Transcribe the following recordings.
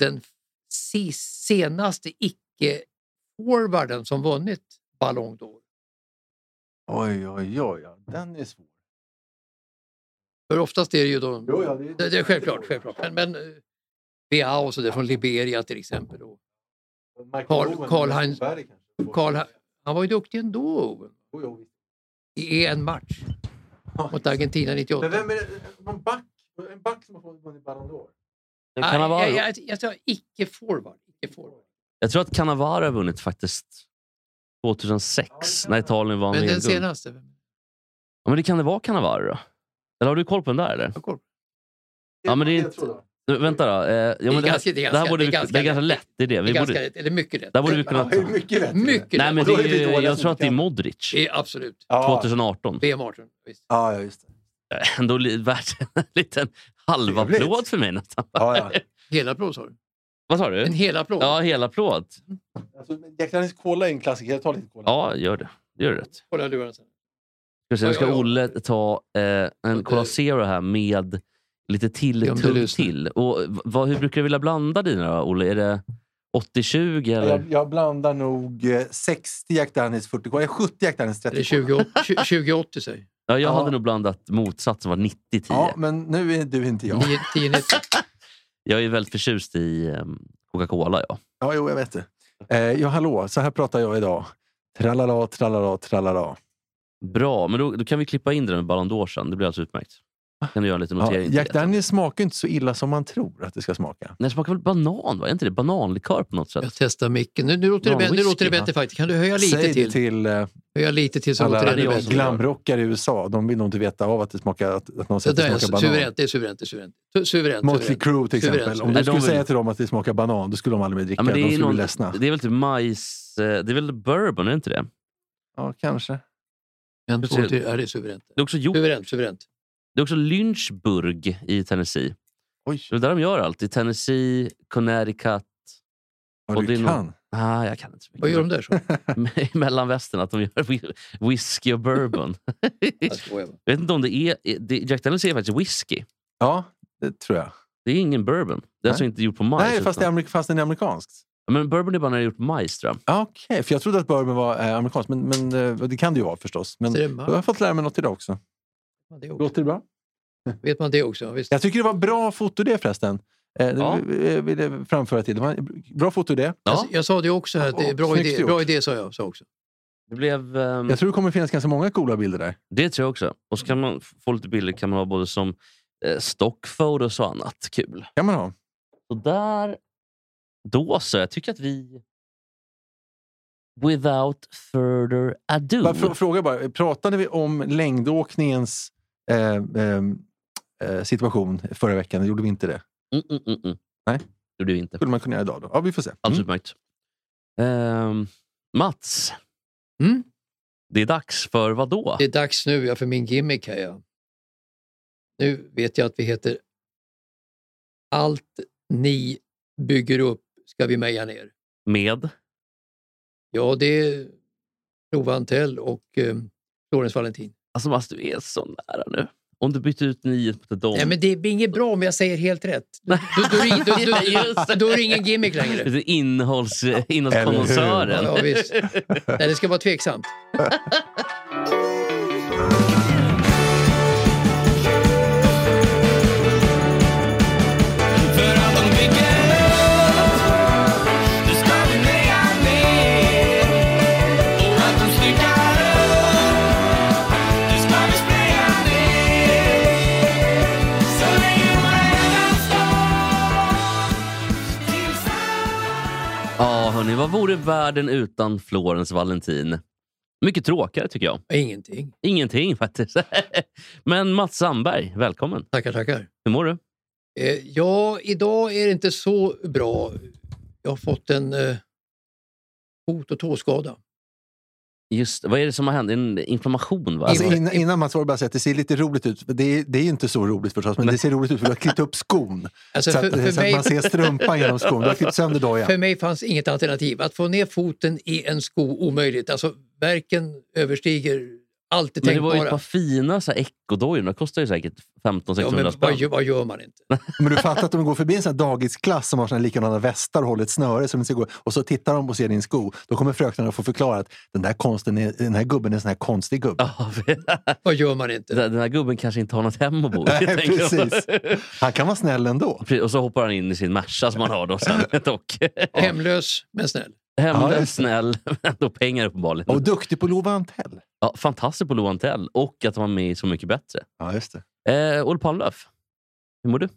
den si- senaste icke-forwarden som vunnit Ballon d'Or. Oj, oj, oj. ja. Den är svår. För oftast är det ju de... Jo, ja, det, Det, det är självklart, självklart. Men, men eh, Beao och så där från Liberia till exempel. Och Michael Carl- Owen, Karl-Heinz- Berg kanske. Carl, Ha- han var ju duktig ändå, Owen, Jo, jo, visst. i en match mot Argentina Men 98. vem är det? Någon back? En back som har fått vunnit Ballon d'Or? Men Nej, Cannavaro. jag, jag, jag tror icke-forward. Icke forward. Jag tror att Cannavaro har vunnit faktiskt 2006 när Italien vann Men den VM-guld. senaste, vem Ja, men det kan det vara Cannavaro då? Eller har du koll på den där? Eller? har koll på? Ja, men det är Jag inte- tror det. Nu, vänta då. Eh, ja, men är det, ganska- här, det är det här ganska- borde det är vi, ganska det är ganska lätt. lätt. Det är det. Det är Vi ganska borde, rätt, eller mycket rätt. där borde vi Ja, kunna... det är mycket lätt. Mycket rätt. Nej, men det Då är vi är, dåliga jag som tror att det är kan. Modric. Det är Absolut. Ja. 2018. VM 18. Visst. Ja, ja, just det. Ändå li- värt en liten halv Trevligt. applåd för mig nästan. Ja, ja. Hela applåd sa du? Vad sa En du? hel applåd? Ja, hela applåd. Alltså, men jag kan inte kolla en klassiker. Jag tar lite kolla. Ja, gör det. Gör det. Ska Kolla luren sen. vi se, Nu Oj, ska oj, oj. Olle ta eh, en Cola Zero här med Det lite är till om du tugg lyssnar. till. Och, v- vad, hur brukar du vilja blanda dina då, Olle? Är det 80-20 eller? Jag, jag blandar nog eh, 60 Jack Daniels 40 kola. 70 Jack Daniels 30 Eller kola. 20, 20, 2080 säger Ja, jag Ja. hade nog blandat motsatsen, var 90-10. Ja, men nu är du inte jag. 10, 10, 90. Jag är väldigt förtjust i ehm, Coca-Cola. Ja. Ja, jo, jag vet det. Eh, ja, hallå, så här pratar jag idag. Tralala, tralala, tralala. Bra, men då, då kan vi klippa in den med Ballon d'Or sen. Det blir alldeles utmärkt. kan du göra en liten Ja, notering. till Jack det. Daniels smakar inte så illa som man tror att det ska smaka. Den smakar väl banan? Va? Är inte det bananlikör på något sätt? Jag testar micken. Nu, nu, låter det, Någon bä- nu låter det whisky, va? bättre faktiskt. Kan du höja lite Säg till? det till eh, Höja lite till så låter det alla är ännu jag bättre. som gör. glamrockare i USA. De vill nog inte veta av att det smakar att, att någon Det säger att där är det smakar banan. suveränt. Det är suveränt. Det är suveränt. Su- suveränt, Motley suveränt. Crue till Suveränt, exempel. Om suveränt. du Nej, de skulle vill- säga till dem att det smakar banan, då skulle de aldrig mer dricka. men de det, är skulle någon, bli ledsna. det är väl typ majs... eh, Det är väl bourbon, är det inte det? Ja, kanske. En, två, tre. Ja, det är suveränt. Det är också, jo, Suveränt, suveränt. det är också Lynchburg i Tennessee. Oj, Det är där de gör allt. I Tennessee, Connecticut... vad och det du är kan. Ah, jag kan inte så Vad gör de mycket. där så? I mellanvästern, att de gör whi- whisky och bourbon. Alltså, Jag skojar bara. jag vet inte om det är... Det, Jack Daniels är faktiskt whisky. Ja, det tror jag. Det är ingen bourbon. Det är Nej. alltså inte gjort på majs. Nej, fast, det är utan, amerik- fast den är amerikansk. men bourbon är bara när det är gjort på majs, tror jag. Ja, Okej, för jag trodde att bourbon var eh, amerikansk, men, men eh, det kan det ju vara förstås. Men Så det är jag man- har fått lära mig något idag också. man det också. Låter det bra? Vet man det också? Ja, Visst. Jag tycker det var bra fotoidé förresten. Eh, det Ja. Mm. vill- eh, vill jag framföra till. Det var en bra fotoidé. Ja, Jag, jag sa det också här. Att det är bra, Snyggt idé, gjort. bra idé sa jag sa också. det blev... ehm, Jag tror det kommer finnas ganska många coola bilder där. Det tror jag också. Och så kan man f- få lite bilder kan man ha både som eh, stock photos och annat kul. kan man ha. Så där... Då så. Jag tycker att vi... Without further ado. Bara fr- fråga bara, pratade vi om längdåkningens eh, eh, eh, situation förra veckan? Gjorde vi inte det? Mm, mm, mm, mm. Nej. Det gjorde vi inte. Skulle man kunna göra idag då? Ja, vi får se. Alldeles Mm. utmärkt. Ehm, Mats. Mm? Det är dags för vad då? Det är dags nu ja, för min gimmick här. Ja. Nu vet jag att vi heter Allt ni bygger upp ska vi meja ner. Med? Ja, det är Tove Antell och eh, Florens Valentin. Alltså Mats, du är så nära nu. Om du bytte ut niet mot ett dom. Nej, men det blir inget bra om jag säger helt rätt. Då, då, då, är- då, då, då, då är det ingen gimmick längre. Det är Innehålls, Eller innehållskonnässören. Ja, visst. Nej, det ska vara tveksamt. För att de bygger upp, det ska vi meja ner. Och att de styckar upp, det ska vi spraya ner. Så länge världen står stillsamt. Ja, hörni, vad vore världen utan Florens Valentin? Mycket tråkigare tycker jag. Ingenting. Ingenting faktiskt. Men Mats Sandberg, välkommen. Tackar, tackar. Hur mår du? Eh, ja, idag är det inte så bra. Jag har fått en eh, fot och tåskada. Just det. Vad är det som har hänt? En inflammation? Va? Alltså, Alltså, innan, innan Mats var det bara att säga att det ser lite roligt ut. Det är, det är ju inte så roligt förstås, men det ser roligt ut för du har klippt upp skon. Alltså, så att, för, för, så att mig, man ser strumpan genom skon. Du har klippt sönder dojan. för mig fanns inget alternativ. Att få ner foten i en sko, omöjligt. Alltså, verken överstiger allt det men det var ju ett tänkbara. par fina så här ekodojor. De kostar ju säkert 1500-600 Ja, men vad, spänn. gör- vad gör man inte? Men du fattar att de går förbi en sån här dagisklass som har såna likadana västar och håller ett snöre som de ska gå. Och så tittar de och ser din sko. Då kommer fröknarna att få förklara att den där, konsten är, den här gubben är en sån här konstig gubbe. Ja, för- Vad gör man inte? Den här gubben kanske inte har något hem att bo i. Nej, tänker jag. precis. Han kan vara snäll ändå. Precis, Och så hoppar han in i sin Merca som han har då sen. Dock. Hemlös, men snäll. Ja, Hemlös, just det. snäll, men ändå pengar uppenbarligen. Och duktig på Lova Antell. Ja, fantastiskt på Loan Tell och att han var med i Så mycket bättre. Ja, just det. Eh, Olle Palmlöf, hur mår du?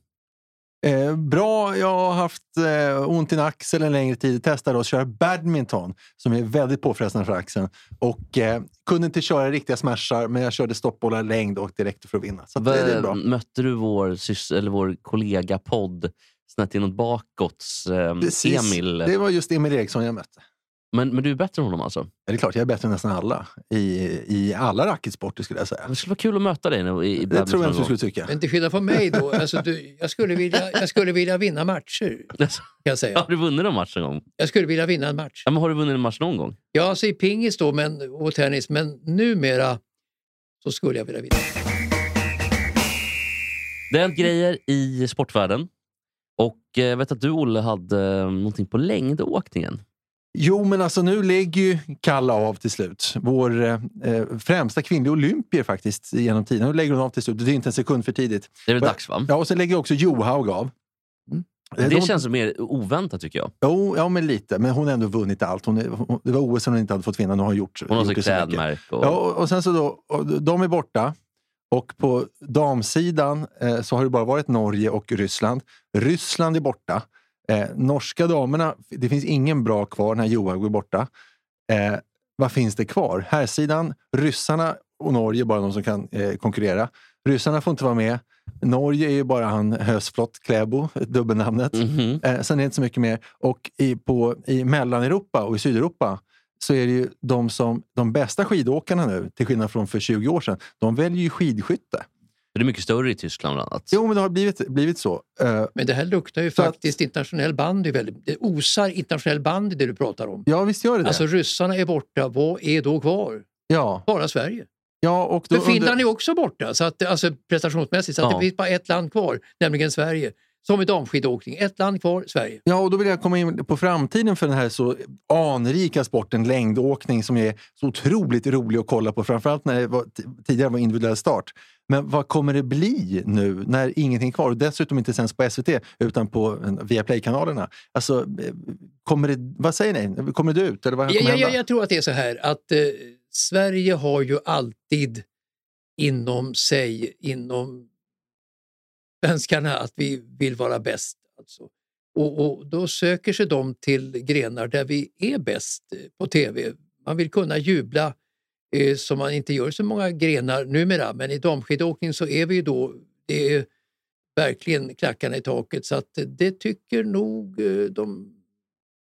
Eh, bra, jag har haft eh, ont i en axel en längre tid. Testade att köra badminton som är väldigt påfrestande för axeln. Och eh, kunde inte köra riktiga smashar, men jag körde stoppbollar längd och direkt för att vinna. Så att, det, det är bra. Eh, Mötte du vår, sys- eller vår kollega podd Snett inåt bakåts, eh, Precis. Emil? Det var just Emil Eriksson jag mötte. Men, men du är bättre än honom alltså? Ja, det är klart, jag är bättre än nästan alla i, i alla racketsporter skulle jag säga. Det skulle vara kul att möta dig nu i, i Det badminton tror jag inte någon du gång. skulle tycka. Men till skillnad från mig då. Alltså, du, jag, skulle vilja, jag skulle vilja vinna matcher, kan jag Har säga. du vunnit en match någon gång? Jag skulle vilja vinna en match. Ja, men har du vunnit en match någon gång? Jag säger pingis då men, och tennis, men numera så skulle jag vilja vinna. Det har hänt grejer i sportvärlden. Och eh, jag vet att du, Olle, hade eh, någonting på längdåkningen. Jo, men alltså nu lägger ju Kalla av till slut. Vår eh, eh, främsta kvinnliga olympier faktiskt genom tiden. Nu lägger hon av till slut. Det är inte en sekund för tidigt. Det är väl Va? dags, va? Ja, och sen lägger också Johaug av. Eh, Mm. Det de- känns mer oväntat, tycker jag. Jo, ja, men lite. Men hon har ändå vunnit allt. Hon är, hon, det var OS som hon inte hade fått vinna. Nu har hon gjort, Hon har gjort så det så mycket. klädmärke. Och... Ja, och, och sen så då, och de är borta. Och på damsidan eh, så har det bara varit Norge och Ryssland. Ryssland är borta. Eh, norska damerna, det finns ingen bra kvar när Johaug är borta. Eh, vad finns det kvar? Här sidan, ryssarna och Norge, bara de som kan eh, konkurrera. Ryssarna får inte vara med. Norge är ju bara han Hösflot Kläbo, dubbelnamnet. Mhm. Eh, sen är det inte så mycket mer. Och i, på, i Mellaneuropa och i Sydeuropa så är det ju de, som, de bästa skidåkarna nu, till skillnad från för 20 år sedan, de väljer ju skidskytte. Det är mycket större i Tyskland bland annat. Jo, men det har blivit, blivit så. Eh, Men det här luktar ju Så att- faktiskt internationell bandy. Väldigt. Det osar internationell bandy det du pratar om. ja, visst gör det det. Alltså ryssarna är borta, vad är då kvar? ja, Bara Sverige. ja, och då Men Finland under- är också borta, så att, alltså prestationsmässigt. Så att Ja. det finns bara ett land kvar, nämligen Sverige. Som i damskidåkning, ett land kvar, Sverige. Ja, och då vill jag komma in på framtiden för den här så anrika sporten längdåkning som är så otroligt rolig att kolla på, framförallt när det var, t- tidigare var individuell start. Men vad kommer det bli nu när ingenting är kvar och dessutom inte sänds på SVT utan på eh, Viaplay-kanalerna? Alltså, eh, kommer det, vad säger ni? Kommer det ut? Eller vad kommer Jag, jag, hända? jag, jag tror att det är så här att eh, Sverige har ju alltid inom sig, inom svenskarna, att vi vill vara bäst. Alltså. Och, och då söker sig de till grenar där vi är bäst eh, på tv. Man vill kunna jubla eh, som man inte gör i så många grenar numera, men i damskidåkning så är vi ju då det är verkligen klackarna i taket. Så att eh, det tycker nog eh, de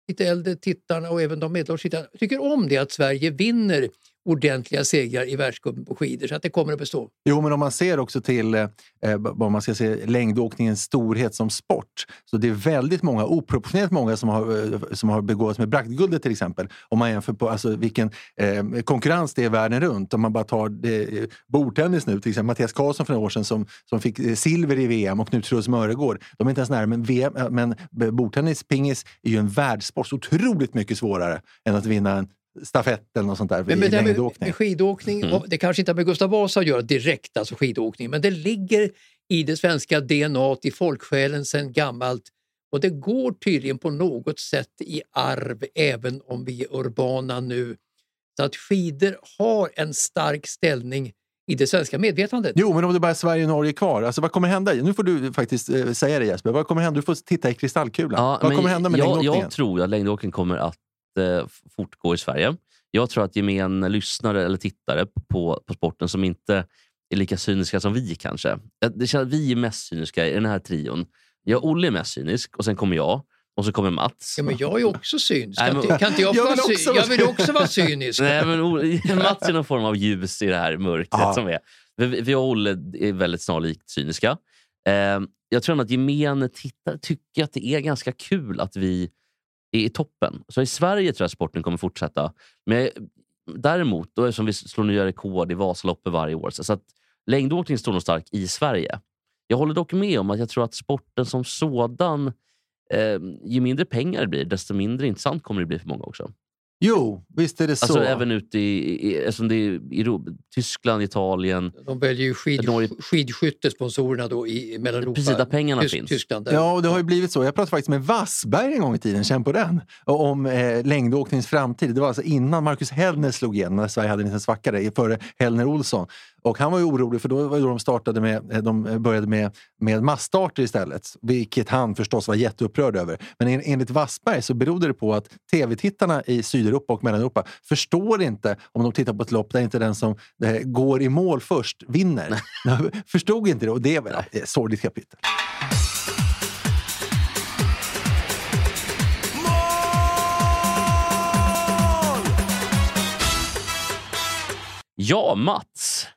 lite äldre tittarna och även de medelålders tittarna tycker om det att Sverige vinner ordentliga segrar i världscupen på skidor så att det kommer att bestå. Jo, men om man ser också till eh, eh, vad man ska se, längdåkningens storhet som sport. Så det är väldigt många, oproportionerligt många, som har, eh, som har begåvats med Bragdguldet till exempel. Om man jämför på alltså, vilken eh, konkurrens det är världen runt. Om man bara tar eh, bordtennis nu, till exempel Mattias Karlsson för några år sedan som, som fick eh, silver i VM och Knut Truls Möregård. De är inte ens nära, men, VM, eh, men b- bordtennis, pingis, är ju en världssport. Så otroligt mycket svårare än att vinna en stafett eller något sånt där Men, i men det här med, längdåkning. med skidåkning, och det kanske inte har med Gustav Vasa att göra direkt, alltså skidåkning, men det ligger i det svenska DNA, t, i folksjälen sedan gammalt och det går tydligen på något sätt i arv även om vi är urbana nu. Så att skidor har en stark ställning i det svenska medvetandet. Typ. Jo, men om det bara är Sverige och Norge kvar, alltså, vad kommer hända? Nu får du faktiskt eh, säga det Jesper. Vad kommer hända? Du får titta i kristallkulan. Ja, vad men kommer hända med jag, längdåkningen? jag tror att längdåkningen kommer att eh, f- fortgå i Sverige. Jag tror att gemene lyssnare eller tittare på, på sporten som inte är lika cyniska som vi kanske. Eh, Det känns, vi är mest cyniska i den här trion. Ja, Olle är mest cynisk och sen kommer jag och så kommer Mats. Ja, men jag är också cynisk. Nej, Kan men- inte- kan inte jag, få Jag vara vill cy- också vara jag vill också vara cynisk. Nej, men O- Mats är någon form av ljus i det här mörkret Ja. som är. Vi vi och Olle är väldigt snarlikt cyniska. Eh, jag tror ändå att gemene tittare tycker att det är ganska kul att vi är i toppen. Så i Sverige tror jag sporten kommer fortsätta. Men jag, däremot, då, eftersom vi slår nya rekord i Vasaloppet varje år, så så att längdåkning står nog stark i Sverige. Jag håller dock med om att jag tror att sporten som sådan, eh, ju mindre pengar det blir, desto mindre intressant kommer det bli för många också. Jo, visst är det så. Alltså även ute i, i, eftersom det är i Ro- Tyskland, Italien. De väljer ju skid, Norge- skidskyttesponsorerna då i i Mellaneuropa. Precis där pengarna Tysk- finns. Tyskland. Där. Ja, och det har ju blivit så. Jag pratade faktiskt med Wassberg en gång i tiden, känn på den, och om eh, längdåkningens framtid. Det var alltså innan Marcus Hellner slog igenom, när Sverige hade en liten svacka där, före Hellner Olsson. Och han var ju orolig, för då var ju då de startade med, eh, de började med, med massstarter istället. Vilket han förstås var jätteupprörd över. Men en, enligt Wassberg så berodde det på att tv-tittarna i Sydeuropa och Mellaneuropa förstår inte om de tittar på ett lopp där inte den som eh, går i mål först vinner. Förstod inte det och det är väl ett sorgligt kapitel. Ja, Mats.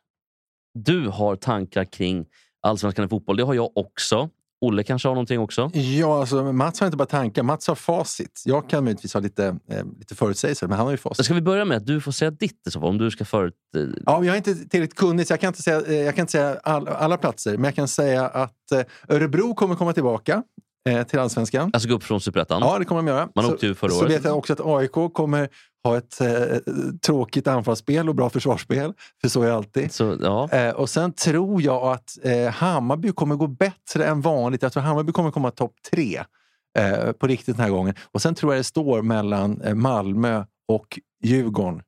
Du har tankar kring allsvenskan i fotboll. Det har jag också. Olle kanske har någonting också. Ja, alltså, Mats har inte bara tankar, Mats har facit. Jag kan möjligtvis ha lite, eh, lite förutsägelser, men han har ju Så facit. Ska vi börja med att du får säga ditt i så fall? Om du ska förut... eh, Ja, men jag är inte tillräckligt kunnig, så jag kan inte säga, eh, jag kan inte säga all, alla platser. Men jag kan säga att eh, Örebro kommer komma tillbaka eh, till allsvenskan. Alltså gå upp från Superettan. Ja, det kommer de göra. Man så, åkte ju förra Så året. vet jag också att AIK kommer ha ett eh, tråkigt anfallsspel och bra försvarsspel, för så är det alltid. Så, ja. Eh, och sen tror jag att eh, Hammarby kommer gå bättre än vanligt. Jag tror Hammarby kommer komma topp tre eh, på riktigt den här gången. Och sen tror jag det står mellan eh, Malmö och Djurgården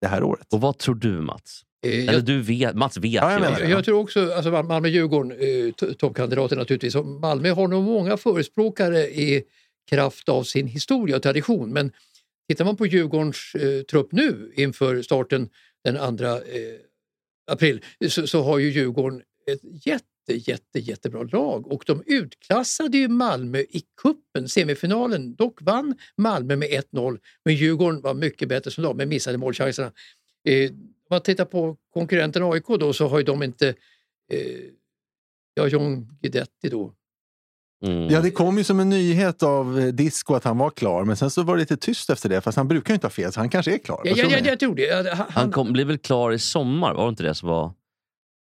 det här året. Och vad tror du Mats? Eh, Eller jag, du vet, Mats vet Ja, jag ju. menar jag, jag tror också alltså Mal- Malmö-Djurgården, eh, to- toppkandidater naturligtvis. Och Malmö har nog många förespråkare i kraft av sin historia och tradition. Men tittar man på Djurgårdens eh, trupp nu inför starten den 2 eh, april så, så har ju Djurgården ett jätte, jätte, jättebra lag och de utklassade ju Malmö i kuppen, semifinalen. Dock vann Malmö med 1-0, men Djurgården var mycket bättre som lag men missade målchanserna. Eh, om man tittar på konkurrenten AIK då så har ju de inte... Eh, ja, John Guidetti då. Mm. Ja, det kom ju som en nyhet av eh, Disco att han var klar, men sen så var det lite tyst efter det. Fast han brukar ju inte ha fel, så han kanske är klar. Ja, Vad ja, tror ja, ni? jag tror det. Ja, Han, Han kom, blev väl klar i sommar? Var det inte det som var...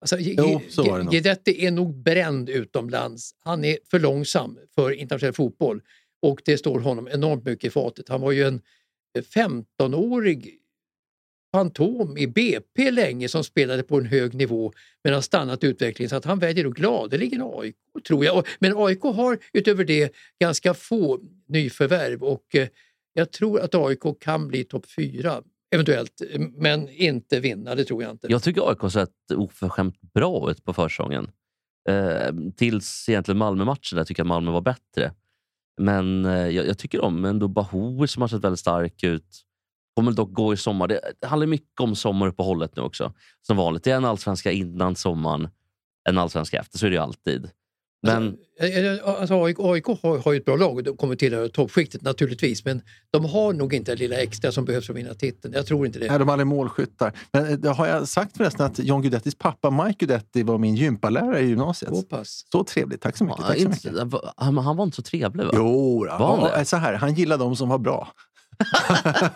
Alltså, G- Jo, G- så var det nog. Guidetti är nog bränd utomlands. Han är för långsam för internationell fotboll och det står honom enormt mycket i fatet. Han var ju en 15-årig fantom i BP länge som spelade på en hög nivå men har stannat i utvecklingen så att han väljer då gladeligen AIK tror jag. Och- Men AIK har utöver det ganska få nyförvärv och eh, jag tror att AIK kan bli topp fyra eventuellt eh, men inte vinna, det tror jag inte. Jag tycker AIK har sett oförskämt bra ut på försäsongen. Eh, tills egentligen Malmö-matchen där tycker jag att Malmö var bättre. Men eh, jag, jag tycker om ändå Bahoui som har sett väldigt stark ut. Kommer dock gå i sommar. Det handlar mycket om sommaruppehållet nu också. Som vanligt. Det är en allsvenska innan sommaren, en allsvenska efter. Så är det ju alltid. Men Alltså, alltså AIK, AIK har, har ju ett bra lag och de kommer tillhöra toppskiktet naturligtvis men de har nog inte det lilla extra som behövs för att vinna titeln. Jag tror inte det. Nej, de är aldrig målskyttar. Men eh, det har jag sagt förresten att John Guidettis pappa Mike Guidetti var min gympalärare i gymnasiet? Så pass. Så trevligt. Tack så mycket. ja, tack så inte- mycket. han, han var inte så trevlig va? Jo, Var han han, det? så här, han gillar de som var bra.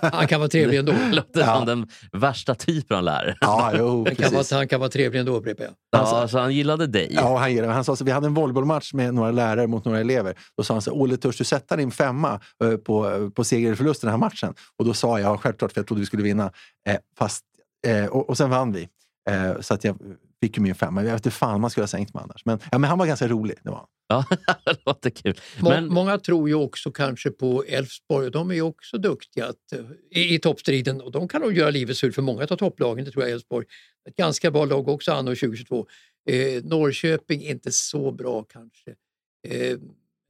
Han kan vara trevlig ändå. Låter som Ja. den värsta typen han lär. Ja, jo, Han kan vara, precis. han kan vara trevlig ändå upprepar jag. Ja, så han gillade dig. Alltså, Ja, han, gillar det. han sa så, vi hade en volleybollmatch med några lärare mot några elever. Då sa han så här, Olle, törs du sätta din femma eh, på, på seger eller förlust i den här matchen? Och då sa jag, självklart, för jag trodde vi skulle vinna. Eh, fast, eh, och, och sen vann vi. Eh, så att jag fick ju min femma. Jag vet inte fan man skulle ha sänkt mig annars. Men, ja, men han var ganska rolig. Det var. han. Ja, det låter kul. Må, Men- Många tror ju också kanske på Elfsborg och de är ju också duktiga att, eh, i, i toppstriden och de kan nog göra livet surt för många av topplagen, det tror jag Elfsborg. Ett ganska bra lag också anno 2022. Eh, Norrköping inte så bra kanske. Eh, Eh,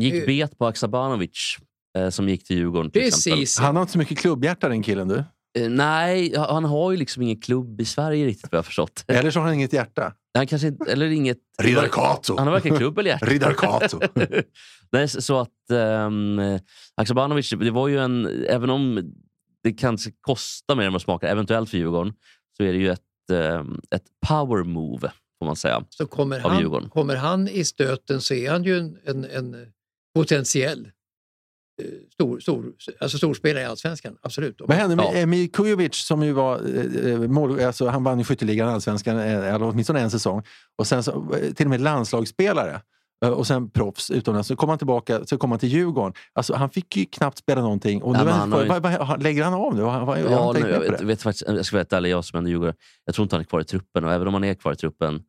Gick bet på Haksabanovic eh, som gick till Djurgården till exempel. precis, Han har inte så mycket klubbhjärta den killen du. Eh, nej, han har ju liksom ingen klubb i Sverige riktigt vad jag har förstått. Eller så har han inget hjärta. Han kanske inte... Eller inget... Riddar Kato! Han har varken klubb eller hjärta. Riddar Kato! Nej, så så att um, Haksabanovic, det var ju en... Även om det kanske kostar mer än vad det smakar, eventuellt för Djurgården, så är det ju ett, ehm, ett power move, får man säga. Så kommer Av Djurgården. han, kommer han i stöten så är han ju en, en, en potentiell eh, stor, stor, alltså storspelare i Allsvenskan. Absolut. Vad hände med Ja. Emil Kujovic som ju var eh, eh, mål, alltså han vann ju skytteligan i allsvenskan, eh, eller åtminstone en säsong. Och sen så, eh, till och med landslagsspelare. Eh, Och sen proffs utomlands. Så kom han tillbaka så kom han till Djurgården. Alltså, han fick ju knappt spela någonting. Och Ja, nu men är han han, har ju- vad, vad, vad, lägger han av nu? Vad- vad- jag har Ja, inte nu, tänkt jag, med på vet, det. vet faktiskt, jag ska vara helt ärlig, jag som ändå Djurgårdare, jag tror inte han är kvar i truppen. Och även om han är kvar i truppen,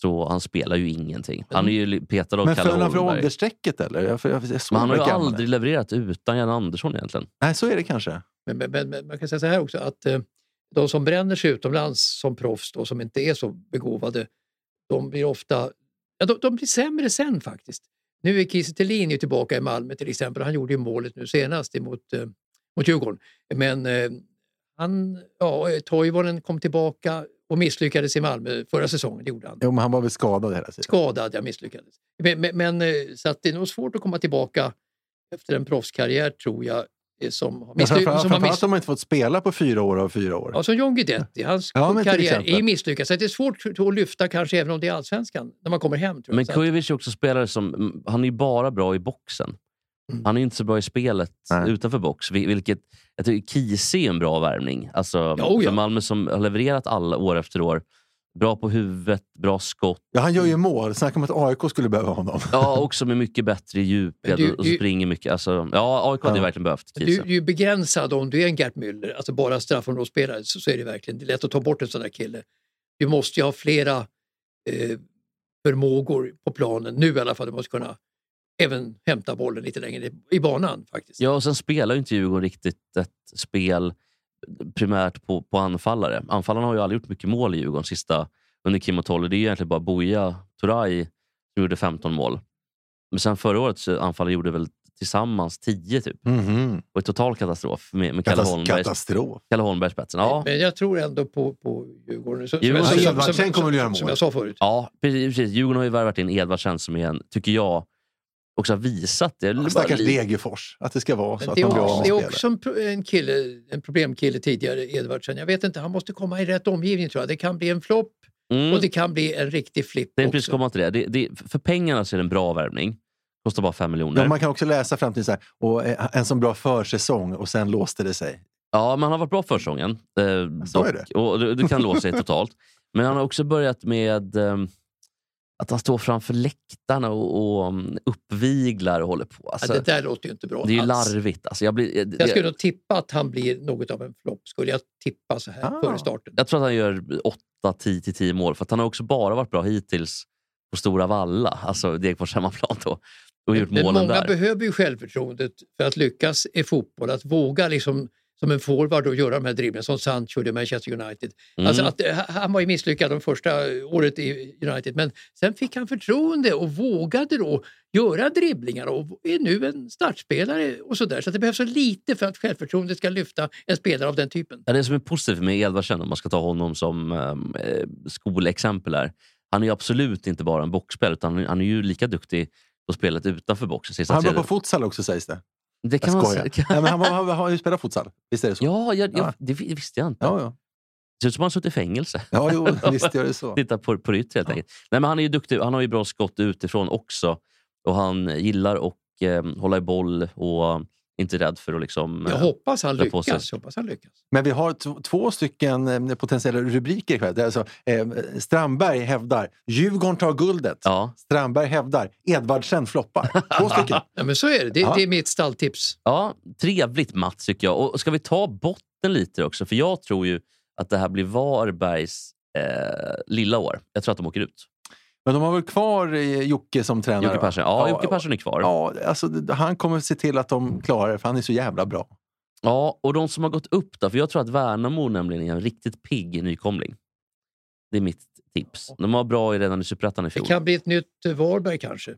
så han spelar ju ingenting. Han är ju li- petad av Men Kalle föll han för Holmberg. åldersstrecket eller? Jag, jag, jag, jag, Men han har ju gammal. aldrig levererat utan Jan Andersson egentligen. Nej, så är det kanske. Men, men, men, men man kan säga så här också att eh, de som bränner sig utomlands som proffs och som inte är så begåvade, de blir ofta ja, de, de blir sämre sen faktiskt. Nu är Kiese Thelin ju tillbaka i Malmö till exempel. Han gjorde ju målet nu senast emot, eh, mot Djurgården. Men eh, han, ja, eh, Toivonen kom tillbaka och misslyckades i Malmö förra säsongen. Det gjorde han. Jo, men han var väl skadad hela tiden. Skadad, jag misslyckades. Men, men, men, eh, så att det är nog svårt att komma tillbaka efter en proffskarriär tror jag. eh, Som har Men missly- framförallt som har framförallt miss- har man inte fått spela på fyra år av fyra år. Ja, som John Guidetti. Hans Ja, men till karriär exempel. är misslyckad. Så att det är svårt att lyfta kanske även om det är allsvenskan när man kommer hem. Tror jag. Men Så att, Kujovic är också spelare som... mm, Han är ju bara bra i boxen. Mm. Han är ju inte så bra i spelet Nej. utanför box. vil- Vilket, jag tycker Kiese är en bra värvning. Alltså, Ja, oh ja. För Malmö som har levererat alla år efter år. Bra på huvudet, bra skott. Ja, han gör ju mål. Snacka om att AIK skulle behöva honom. Ja, också med mycket bättre djup Men du- och så du- springer mycket. Alltså, ja, AIK hade ju Ja. verkligen behövt du, Kiese. du är ju begränsad om du är en Gert Müller, alltså bara straffområdesspelare. Så, så är det verkligen. Det är lätt att ta bort en sån där kille. Du måste ju ha flera eh, förmågor på planen nu i alla fall. Du måste kunna även hämta bollen lite längre i- i banan faktiskt. Ja, och sen spelar ju inte Djurgården riktigt ett spel primärt på, på anfallare. Anfallarna har ju aldrig gjort mycket mål i Djurgården sista under Kim och Tolle. Det är ju egentligen bara Boja Turay som gjorde 15 mål. Men sen förra året så anfallare gjorde väl totalt 10 typ. Mhm. Och total katastrof med, med Kalle Katas- Holmberg Katastrof. Kalle Holmberg i spetsen. Ja, Men jag tror ändå på, på Djurgården. Så, Djurgården- som, jag- Edvardsen som, kommer väl göra som, mål. som jag sa förut. ja precis, precis. Djurgården har ju värvat in Edvardsen som är en, tycker jag, också har visat det. Eller Mm. bara Stackars lite- Degerfors. Att det ska vara så Men Alltså, att det, är man blir också, det är av med också en, pro- en, kille, en problemkille tidigare, Edvardsen. Jag vet inte, han måste komma i rätt omgivning tror jag. Det kan bli en flopp Mm. och det kan bli en riktig flipp Det är precis också. komma till det. Det, det. För pengarna så är det en bra värvning. Kostar bara 5 miljoner. Ja, man kan också läsa fram till så här, och eh, en sån bra försäsong och sen låste det sig. Ja, men han har varit bra för säsongen. Eh, Så är dock. Och du, du kan låsa dig totalt. Men han har också börjat med ehm, att han står framför läktarna och, och mm, uppviglar och håller på. Alltså, ja, det där låter ju inte bra det är ju alls. larvigt. Alltså, jag, blir, jag, Jag skulle jag, nog tippa att han blir något av en flopp, skulle jag tippa så här Ah. före starten. tror att han gör 8-10 mål. För att han har också bara varit bra hittills på Stora Valla, alltså Degerfors hemmaplan då. Och gjort Men målen många där. behöver ju självförtroendet för att lyckas i fotboll, att våga liksom som en forward och göra de här dribblingarna som Sancho gjorde i Manchester United. Mm. Alltså att, eh, han var ju misslyckad de första eh, året i United men sen fick han förtroende och vågade då göra dribblingar och är nu en startspelare och sådär. Så att det behövs så lite för att självförtroendet ska lyfta en spelare av den typen. Ja, det som är positivt med Edvardsen, om man ska ta honom som ehm, eh, skolexempel här. Han är ju absolut inte bara en boxspelare, utan han- han är ju lika duktig på spelet utanför boxen. Sista Han var tredje. på futsal också sägs det. det kan jag man skojar. säga. Kan... Nej, men han, var, han har ju spelat futsal. Visst är det så? Ja, jag, jag, Ja. det vi- visste jag inte. ja, ja. Det ser ut som han har suttit i fängelse. ja jo, visst gör det så. Titta på, på det yttre helt enkelt. Nej, men han är ju duktig. Han har ju bra skott utifrån också. Och han gillar att ehm, hålla i boll och eh, inte rädd för att liksom... Jag eh, hoppas han dra på sig. lyckas. Hoppas han lyckas. Men vi har t- två stycken eh, potentiella rubriker ikväll. Det är Alltså, eh, Strandberg hävdar Djurgården tar guldet. Ja, Strandberg hävdar Edvardsen floppar. Två stycken. Ja, men så är det. Det, Ja. det är mitt stalltips. Ja, trevligt Mats tycker jag. Och ska vi ta botten lite också? För jag tror ju att det här blir Varbergs eh, lilla år. Jag tror att de åker ut. Men de har väl kvar eh, Jocke som tränare? Jocke va? Persson, Ja, ja, Jocke Persson är kvar. Ja. Ja, alltså, d- han kommer se till att de klarar det, för han är så jävla bra. och de som har gått upp då. För jag tror att Värnamo nämligen är en riktigt pigg nykomling. Det är mitt tips. De var bra i- redan i Superettan i Det fjol. kan bli ett nytt eh, Varberg kanske.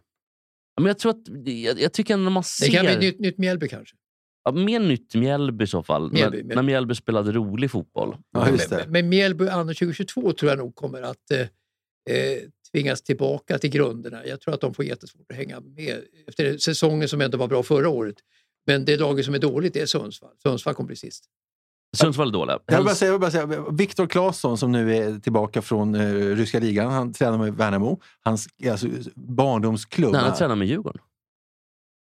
Men jag tror att, jag, jag tycker ändå när man ser... Det kan bli ett nytt, nytt Mjällby kanske. ja, mer nytt Mjällby i så fall. Mjällby, när, Mjällby. när Mjällby spelade rolig fotboll. Ja, just det. Men, men Mjällby anno 2022 tror jag nog kommer att eh, eh, tvingas tillbaka till grunderna. Jag tror att de får jättesvårt att hänga med efter säsongen som ändå var bra förra året. Men det laget som är dåligt är Sundsvall. Sundsvall kommer bli sist. Sundsvall är dåliga. Jag vill bara Helst- säga, jag vill bara säga, Viktor Claesson som nu är tillbaka från eh, ryska ligan, han tränar med Värnamo. Hans alltså, barndomsklubb. Nej, han tränar med Djurgården.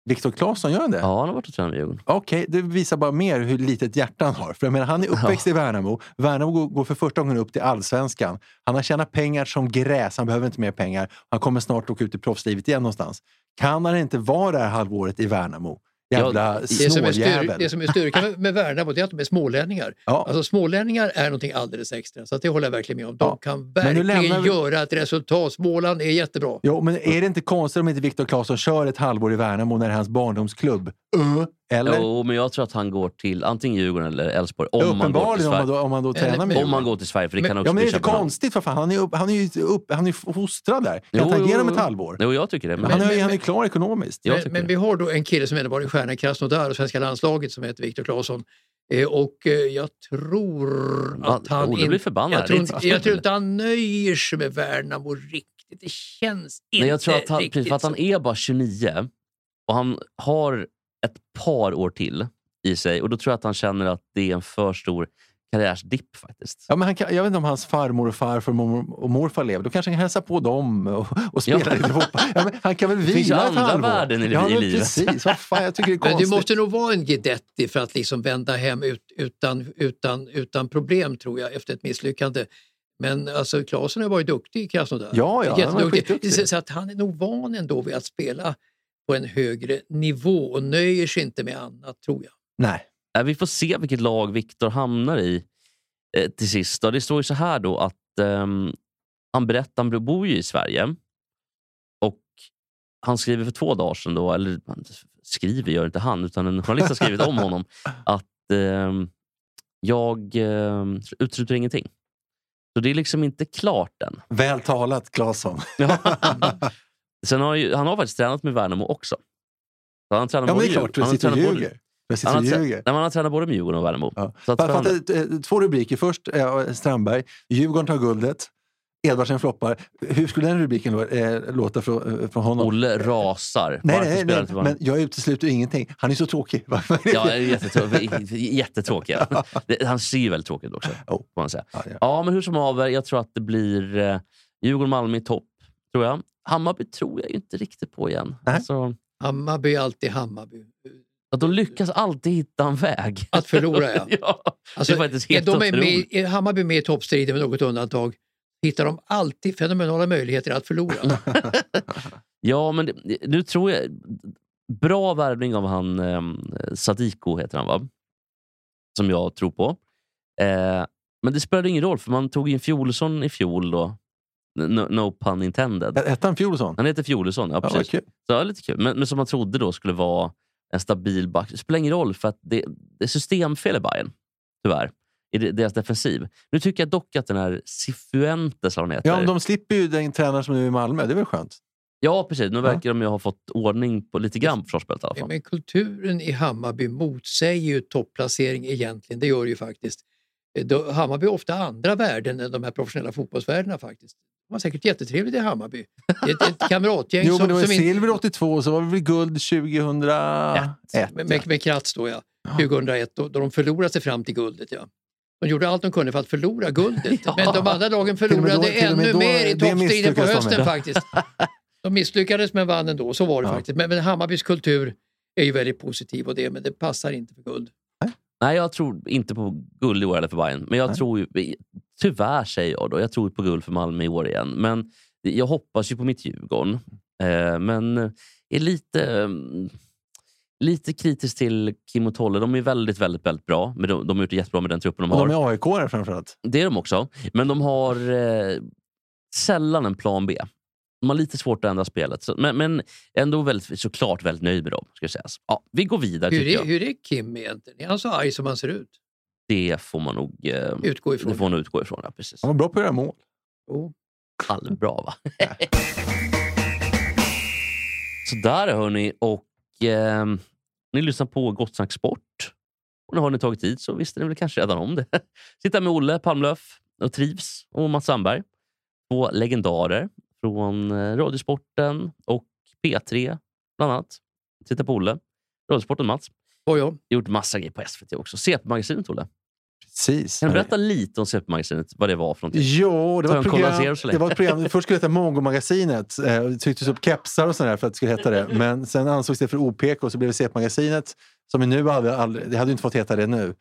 Viktor Claesson, gör han det? Ja, han har varit och tränat med Djurgården. Okej, det visar bara mer hur litet hjärta han har. För jag menar, han är uppväxt i Värnamo. Värnamo går, går för första gången upp till allsvenskan. Han har tjänat pengar som gräs. Han behöver inte mer pengar. Han kommer snart åka ut i proffslivet igen någonstans. Kan han inte vara där halvåret i Värnamo? Jävla Det som är, styr, snåljävel. det som är styrkan med- med Värnamo det är att de är smålänningar. Ja. Alltså, smålänningar är någonting alldeles extra, så att det håller jag verkligen med om. De Ja. kan Men nu verkligen lämnar vi- göra ett resultat. Småland är jättebra. Jo, men är det inte konstigt om inte Viktor Claesson kör ett halvår i Värnamo när det är hans barndomsklubb? Uh, eller? Jo, men jag tror att han går till antingen Djurgården eller Elfsborg. Om han går Uppenbarligen till om man Sverige. då, om man då Eller- tränar med Om han går till Sverige, för det Men- kan också Ja, men det är bli inte Köpenhamn. konstigt för fan. Han är ju upp, han är ju upp, han är ju fostrad där. Kan Jo, inte han ge jo, dem ett jo. halvår? Jo, jag tycker det. Men, han, men- är, han är men- klar ekonomiskt. jag men, tycker men det. vi har då en kille som ändå var en stjärna i Krasnodar och svenska landslaget som heter Viktor Claesson. Eh, och eh, jag tror att han... Olle in- blir förbannad. jag, tror, Det är inte- inte- jag tror inte han nöjer sig med Värnamo riktigt. Det känns inte Nej, jag tror att han, riktigt precis, för att han så. är bara 29 och han har ett par år till i sig. Och Då tror jag att han känner att det är en för stor karriärsdipp faktiskt. Ja, men han kan, jag vet inte om hans farmor och farfar mor- och morfar lever. Då kanske han hälsar på dem och, och spelar Ja. lite fotboll. Ja, men han kan väl finns ju vila ett andra halvår? värden i- ja, i men livet. Precis. Vad fan, jag tycker det är Men du konstigt. måste nog vara en Guidetti för att liksom vända hem ut, utan, utan, utan problem, tror jag, efter ett misslyckande. Men alltså, Klasen har varit duktig i Krasnodar. Ja, ja, han har varit Jätteduktig. skitduktig. Så- Så att han är nog van ändå vid att spela på en högre nivå och nöjer sig inte med annat, tror jag. Nej. Eh, Vi får se vilket lag Viktor hamnar i eh, till sist. Då. Det står ju så här då att ehm, han berättar, han bor ju i Sverige och han skriver för två dagar sedan, då, eller han skriver gör inte han, utan en journalist har skrivit om honom, att ehm, jag um, utesluter ingenting. Så det är liksom inte klart än. Väl talat, Claesson. Sen har ju, han har faktiskt tränat med Värnamo också. Så han tränar Ja, men det både är Djur- klart, du han har sitter och tränat både- ljuger. Du sitter han har och trä- ljuger. nej, men han har tränat både med Djurgården och Värnamo. Ja. Så att Fatta, han- fatta, eh, två rubriker. Först eh, Strandberg, Djurgården tar guldet, Edvardsen floppar. Hur skulle den rubriken då, eh, låta från, eh, från honom? Olle rasar. Nej, Varför nej, spelar nej, inte nej. Varnhem? men jag utesluter ingenting. Han är så tråkig. Varför är det- Ja, eh. jättetråkig. jättetråkig. Det- Han ser ju väldigt tråkig ut också. Jo. Får man säga. Ja, ja. Ja, men hur som haver, jag tror att det blir eh, Djurgården-Malmö i topp. Tror jag. Hammarby tror jag ju inte riktigt på igen. Nej. Alltså, Hammarby är alltid Hammarby. att de lyckas alltid hitta en väg. Att förlora, ja. ja. Alltså, Det är faktiskt helt de är med, otroligt. är Hammarby med i toppstriden med något undantag hittar de alltid fenomenala möjligheter att förlora. Ja, men det, nu tror jag... Bra värvning av han eh, Sadiko, heter han va? Som jag tror på. Eh, men det spelade ingen roll, för man tog in Fjolesson i fjol då. No, no pun intended. Hette han Fjolsson? Han heter Fjolesson, ja Ja, vad precis. kul. Så det var lite kul. Men, men som man trodde då skulle vara en stabil back. Det spelar ingen roll, för att det, det är systemfel i Bayern. Tyvärr. I de- deras defensiv. Nu tycker jag dock att den här Cifuentes, eller vad han heter. Ja, men de slipper ju den tränare som nu är i Malmö. Det är väl skönt? Ja, precis. Nu verkar de ju ha fått ordning på lite grann på försvarsspelet i alla fall. Men kulturen i Hammarby motsäger ju topplacering egentligen. Det gör det ju faktiskt. Eh, Då, Hammarby har ofta andra värden än de här professionella fotbollsvärdena faktiskt. De har säkert jättetrevligt i Hammarby. Det är ett, ett kamratgäng Jo, som, men det var ju som inte- silver 82 och så var det väl guld 2001. med, med, med Kratz då, ja. 2001, då, då de förlorade sig fram till guldet. Ja. De gjorde allt de kunde för att förlora guldet, men de andra lagen och med då- förlorade till och med ännu då- mer i det toppstriden på misslyckades de hösten med. faktiskt. De misslyckades men vann ändå, så var det Ja. faktiskt. Men, men Hammarbys kultur är ju väldigt positiv och det, men det passar inte för guld. Nej, jag tror inte på guld i år eller för Bayern. Men jag Nej. tror ju, tyvärr säger jag då, jag tror på guld för Malmö i år igen. Men jag hoppas ju på mitt Djurgården. Eh, men är lite, eh, lite kritisk till Kim och Tolle. De är väldigt, väldigt, väldigt bra. Men de, de har gjort det jättebra med den truppen de Och har. de är AIK-are framförallt. Det är de också. Men de har eh, sällan en plan B. De har lite svårt att ändra spelet. Så, men, men ändå väldigt, såklart väldigt nöjd med dem. Ska sägas. Ja, vi går vidare Hur tycker är, jag. hur är Kim egentligen? Är han så arg som han ser ut? Det får man nog... Eh, Utgå det ifrån. Oh, får man utgå ifrån. Ja, precis. Han var bra på att göra mål. Jo. halvbra va? Sådär hörni. Och eh, ni lyssnar på Gott Snack Sport. Och nu har ni tagit tid så visste ni väl kanske redan om det. Sitta med Olle Palmlöf och Trivs och Mats Sandberg. två legendarer från eh, Radiosporten och P3 bland annat. Titta på Olle. Radiosporten Mats. Var jag? Gjort massa grejer på SVT också. CP-magasinet Olle. Precis. Kan du berätta lite om CP-magasinet? Vad det var för någonting? Jo, det Ta var, en ett kondenserad program, så länge. det var ett program. Först skulle det heta Mongo-magasinet. Eh, Det trycktes upp kepsar och sådär för att det skulle heta det. Men sen ansågs det för OPK och så blev det CP-magasinet. Som ju nu aldrig, aldrig, det hade ju inte fått heta det nu.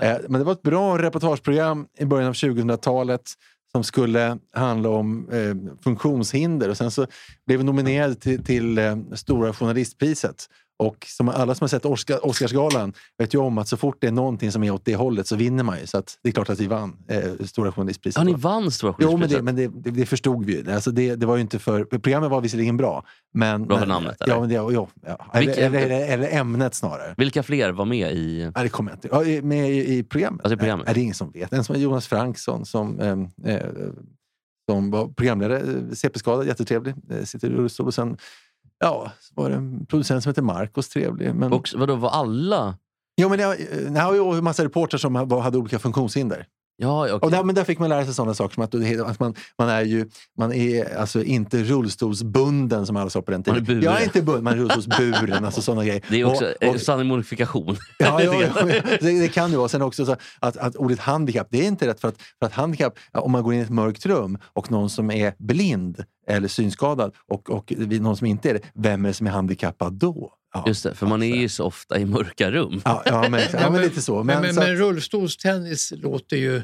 Eh, Men det var ett bra reportageprogram i början av 2000-talet som skulle handla om eh, funktionshinder. Och sen så blev vi nominerade till, till eh, Stora journalistpriset. Och som alla som har sett Oscar, Oscarsgalan vet ju om att så fort det är någonting som är åt det hållet så vinner man ju. Så att det är klart att vi vann eh, Stora journalistpriset. Ja, ni då. vann Stora Jo, men, det, Journalistpriset. men det, det, det förstod vi ju. Alltså det, det var ju inte för, programmet var visserligen bra. Men, Bra för men, namnet, eller? Ja, men det, ja, ja. Eller, Vilken- eller, eller, eller ämnet snarare. Vilka fler var med i... Nej, det kommer jag inte ja, i- Med i, i programmet? Alltså i programmet. Nej, det är ingen som vet. En som är Jonas Franksson som, ehm, eh, som var programledare, eh, CP-skadad, jättetrevlig. Eh, sitter i rullstol. Och sen ja, så var det en producent som heter Marcos, trevlig. Men, Och, vadå, var alla... jo, men det, det har ju en massa reportrar som var- hade olika funktionshinder. Ja, Och okay. där, men där fick man lära sig sådana saker som att, du- att man, man är ju man är alltså inte rullstolsbunden som alla sa på den Man är tiden. buren. jag är inte bunden, man är rullstolsburen. alltså sådana grejer. Det är också Och- eh, och- sann modifikation. Ja, Lite ja, ja. grann. Det, det kan ju vara. Sen också så att, att ordet handikapp, det är inte rätt. För att, för att handikapp, ja, om man går in i ett mörkt rum och någon som är blind eller synskadad och, och vi- någon som inte är det, vem är det som är handikappad då? Ja, Just det, för man är alltså. ju så ofta i mörka rum. Ja, ja, men, ja, men lite så. Men, Men, men, så att, men rullstolstennis låter ju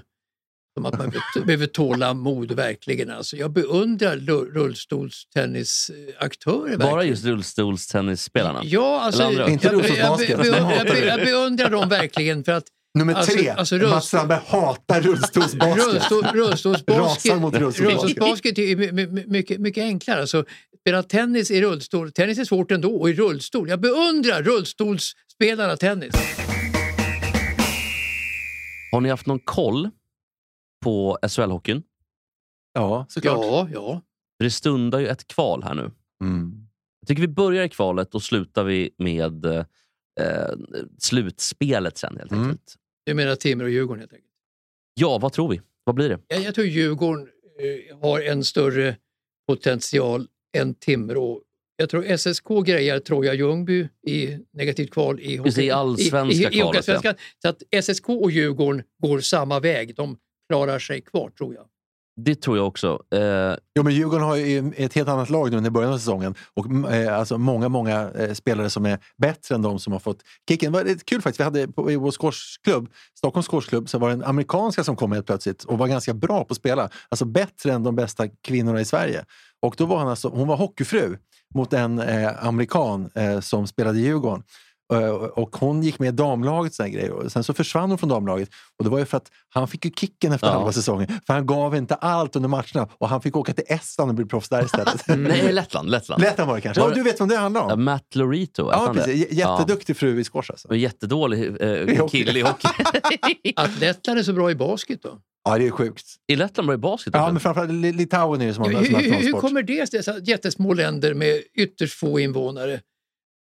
som att man be- behöver tålamod verkligen. Alltså, jag beundrar lu- rullstolstennisaktörer. verkligen. Bara just rullstolstennisspelarna. Ja, alltså, Eller andra. jag, Inte jag, jag, rullstolsbasket, jag, jag, den hatar jag, du. jag beundrar dem verkligen för att nummer alltså- tre, alltså rullstol- Mats Strandberg hatar rullstolsbasket. rullstol, Rasar rullstolsbasket, mot rullstolsbasket. rullstolsbasket är ju my- my- mycket, mycket enklare. Alltså, spela tennis i rullstol. Tennis är svårt ändå och i rullstol. Jag beundrar rullstolsspelarna tennis. Har ni haft någon koll på SHL-hockeyn? Ja, såklart. Ja, ja. För Det stundar ju ett kval här nu. Mm. Jag tycker vi börjar i kvalet och slutar vi med eh, eh, slutspelet sen helt Mm. enkelt. Du menar Timrå och Djurgården helt enkelt. Ja, vad tror vi? Vad blir det? Jag, jag tror Djurgården eh, har en större potential än Timrå. Jag tror SSK grejar Troja Ljungby i negativt kval i hockey- Just det, i i, allsvenska i, i kvalet, hockeyallsvenskan. Så att SSK och Djurgården går samma väg. De klarar sig kvar tror jag. Det tror jag också. Eh, Jo, men Djurgården har ju ett helt annat lag nu än i början av säsongen. Och mm, eh, alltså många, många eh, spelare som är bättre än de som har fått kicken. Det var lite kul faktiskt. Vi hade på, i vår squashklubb, Stockholms squashklubb, så var det en amerikanska som kom helt plötsligt och var ganska bra på att spela. Alltså bättre än de bästa kvinnorna i Sverige. Och då var han alltså, hon var hockeyfru mot en eh, amerikan eh, som spelade i Djurgården. Eh, Och hon gick med i damlaget och såna grejer. Och Sen så försvann hon från damlaget. Och det var ju för att han fick ju kicken efter Ja. halva säsongen. För han gav inte allt under matcherna. Och han fick åka till Estland och bli proffs där istället. nej, Lettland. Lettland. Lettland var det kanske. Ja, du vet vem det handlar Ja, om? Matt Lorito. Ja, precis. J- Jätteduktig fru i squash alltså. Ja, jättedålig I eh, hockey. kille i hockey. Att Lettland är så bra i basket då? Ja, det är sjukt. I Lettland var det basket. Ja, också. men framförallt Li- Litauen är ju som har Hur, som har hur, hur nationalsport. kommer det sig? Dessa jättesmå länder med ytterst få invånare.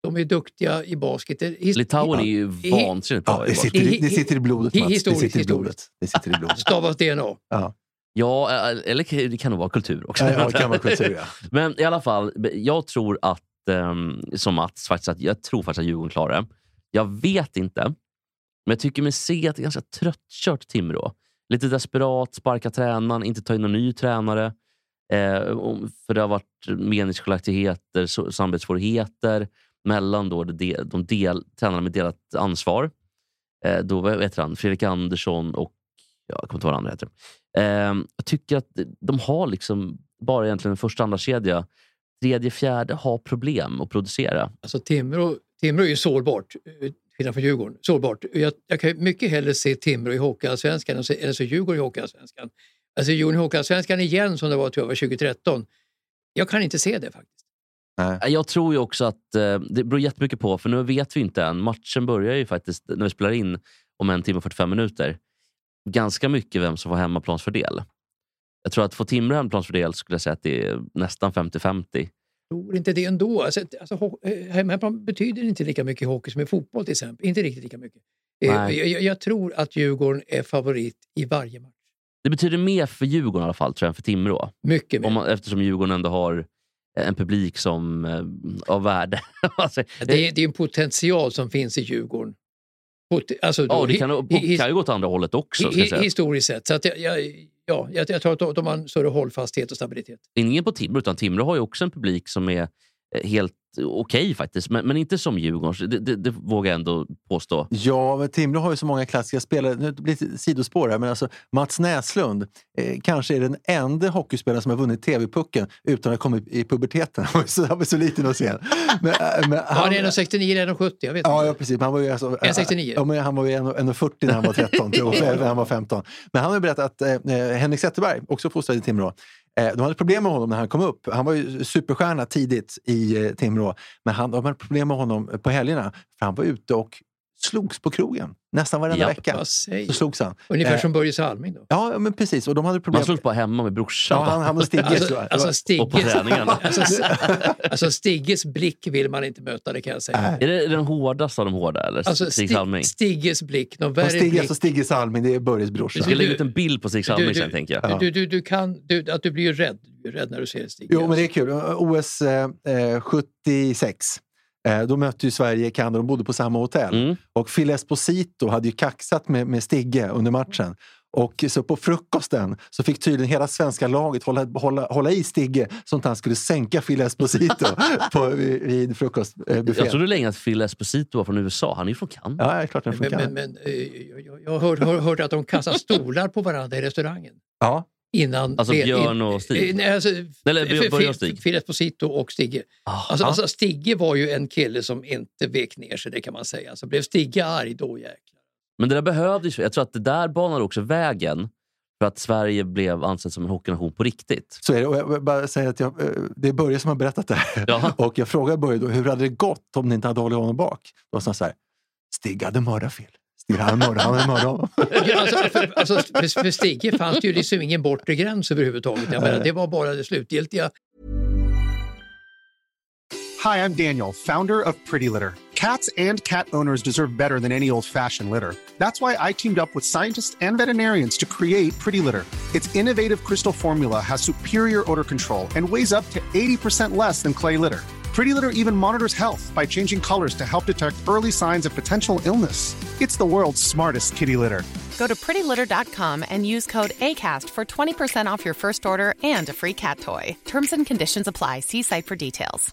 De är duktiga i basket. Det- his- Litauen är ju I- vansinnigt Ja, bra. det, i basket. sitter i, det sitter i blodet, Hi- Mats. Det historiskt, sitter i historiskt. blodet. Det sitter i blodet. Stavas DNA. Ja, eh, eller det kan nog vara kultur också. Ja, ja, kammarkultur, ja. Men i alla fall, jag tror att, ehm, som Mats, faktiskt att, jag tror faktiskt att Djurgården klarar det. Jag vet inte, men jag tycker mig se att det är ganska tröttkört Timrå. Lite desperat, sparka tränaren, inte ta in någon ny tränare. Eh, och- för det har varit meningsskiljaktigheter, so- samarbetssvårigheter mellan då det del, de del, tränarna med delat ansvar. Eh, då vad heter han? Fredrik Andersson och ja, jag kommer inte ihåg vad han heter. Ehm, jag tycker att de har liksom bara egentligen en första andra kedja. Tredje, fjärde har problem att producera. Alltså Timrå, Timrå är ju sårbart, eh, till skillnad från Djurgården. Sårbart. Jag, jag kan ju mycket hellre se Timrå i Hockeyallsvenskan än så- än så Djurgården i Hockeyallsvenskan. Alltså Djurgården i Hockeyallsvenskan igen som det var tror jag, var 2013. Jag kan inte se det faktiskt. Eh, Jag tror ju också att eh, det beror jättemycket på, för nu vet vi inte än. Matchen börjar ju faktiskt, när vi spelar in, om en timme och 45 minuter. Ganska mycket vem som får hemmaplansfördel. Jag tror att få Timrå hemmaplansfördel skulle jag säga att det är nästan 50-50. Jag tror inte det ändå. Alltså, alltså, ho- eh, hemmaplan betyder inte lika mycket i hockey som i fotboll till exempel. Inte riktigt lika mycket. Eh, Nej. Jag, jag, jag tror att Djurgården är favorit i varje match. Det betyder mer för Djurgården i alla fall, tror jag, än för Timrå. Mycket mer. Om man, eftersom Djurgården ändå har en publik som eh, av värde. alltså, det, är, det är en potential som finns i Djurgården. Pot- alltså, ja, då- och det kan, hi- kan ju gå åt andra hållet också. Ska hi- jag hi- säga. historiskt sett. Så att jag, jag, ja, jag, jag tror att de- de har en större hållfasthet och stabilitet. Ingen på Timrå, utan Timrå har ju också en publik som är eh, helt okej faktiskt. Men, men inte som Djurgårdens. Det, det, det vågar jag ändå påstå. Ja, men Timrå har ju så många klassiska spelare. Nu blir det sidospår här, men alltså Mats Näslund eh, kanske är den enda hockeyspelaren som har vunnit TV-pucken utan att ha kommit i puberteten. Han var ju så, han var så liten och sen. Men, eh, men Ja, det är 1,69 eller 1,70. Jag vet Ja, inte. ja, precis. Men Han var ju alltså, 1,69. Ja, men han var ju 1,40 när han var 13 tror jag, eller när han var 15. Men han har ju berättat att eh, eh, Henrik Zetterberg, också fostrad i Timrå, eh, de hade problem med honom när han kom upp. Han var ju superstjärna tidigt i eh, Timrå. Men han, de hade problem med honom på helgerna, för han var ute och slogs på krogen nästan varenda Ja. vecka. Vad säger Så du? slogs han. Ungefär Eh, som Börje Salming. Då. Ja, ja, men precis. Och de hade problem. Man slogs bara hemma med brorsan. Ja, han hamnade stigget. Alltså, tror jag. alltså, och på Stigges, träningarna. alltså, alltså Stigges blick vill man inte möta, det kan jag säga. Nej. Är det den hårdaste av de hårda? Eller? Alltså, Stig Stig- Salming? Stigges blick, någon Och värre Stig, blick. alltså Stigge Salming, det är Börjes Vi brorsa. ska lägga Du- ut en bild på Stig du- Salming du- sen, tänker jag. Ja. Du, du, du, kan, du, att du blir ju rädd, du blir rädd när du ser Stig. Jo, men det är kul. OS eh, eh, 76. Eh, då mötte ju Sverige Kanada. De bodde på samma hotell. Mm. Och Phil Esposito hade ju kaxat med, med Stigge under matchen. Och så på frukosten så fick tydligen hela svenska laget hålla, hålla, hålla i Stigge så att han skulle sänka Phil Esposito på, vid, vid frukostbuffén. Jag trodde länge att Phil Esposito var från USA. Han är ju från Kanada. Ja, det är klart den Men, funkar. men, men, eh, jag- jag, jag hörde hör, hörde att de kastar stolar på varandra i restaurangen. Ja. Innan Alltså det- Björn och Stig? eh, Nej, alltså, Eller Björn- Björn och Stig? Filip Esposito och Stigge. Ah, Alltså, alltså, Stigge var ju en kille som inte vek ner sig, det kan man säga. Alltså, blev Stigge arg, då jäklar. Men det där behövdes ju. Jag tror att det där banade också vägen för att Sverige blev ansett som en hockeynation på riktigt. Så är det. Och jag vill bara säga att jag, eh, det är Börje som har berättat det här. Ja. Och jag frågade Börje då, hur hade det gått om ni inte hade hållit honom bak? Då sa han så här, Stig hade mördat Phil. Stig hade mördat, han hade mördat honom. Ja, Alltså, för, alltså, för, för Stigge fanns det ju liksom ingen bortre gräns överhuvudtaget. Jag menar, det var bara det slutgiltiga. Hi, I'm Daniel, founder of Pretty Litter. Cats and cat owners deserve better than any old fashioned litter. That's why I teamed up with scientists and veterinarians to create Pretty Litter. Its innovative crystal formula has superior odor control and weighs up to 80% less than clay litter. Pretty Litter even monitors health by changing colors to help detect early signs of potential illness. It's the world's smartest kitty litter. Go to prettylitter.com and use code ACAST for 20% off your first order and a free cat toy. Terms and conditions apply. See site for details.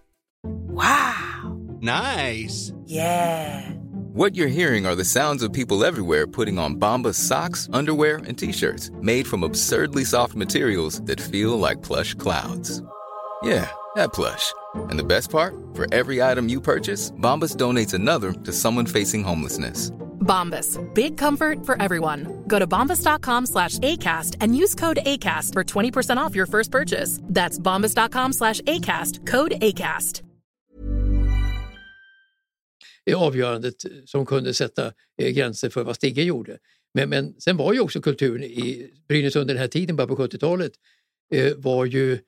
Nice. Yeah. What you're hearing are the sounds of people everywhere putting on Bombas socks, underwear, and t-shirts made from absurdly soft materials that feel like plush clouds. Yeah, that plush. And the best part? For every item you purchase, Bombas donates another to someone facing homelessness. Bombas. Big comfort for everyone. Go to bombas.com slash ACAST and use code ACAST for 20% off your first purchase. That's bombas.com slash ACAST. Code ACAST. i avgörandet som kunde sätta eh, gränser för vad Stigge gjorde. Men, men sen var ju också kulturen i Brynäs under den här tiden, bara på 70-talet, eh, var ju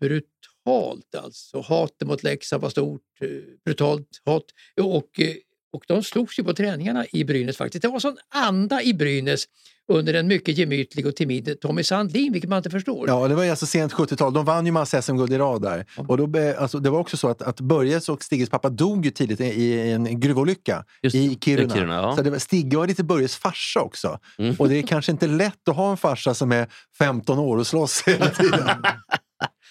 brutalt alltså. Hatet mot Leksand var stort, eh, brutalt hat. Och, eh, och de slogs ju på träningarna i Brynäs faktiskt. Det var sån anda i Brynäs under en mycket gemytlig och timid Tommy Sandlin, vilket man inte förstår. Ja, och det var ju alltså sent 70-tal. De vann ju massa SM-guld i rad där. Och då, be- alltså, det var också så att, att Börjes och Stigges pappa dog ju tidigt i, i en gruvolycka Just det, i Kiruna. i Kiruna, ja. Mm. Så det var, Stigge var lite Börjes farsa också. Och det är kanske inte lätt att ha en farsa som är 15 år och slåss hela tiden.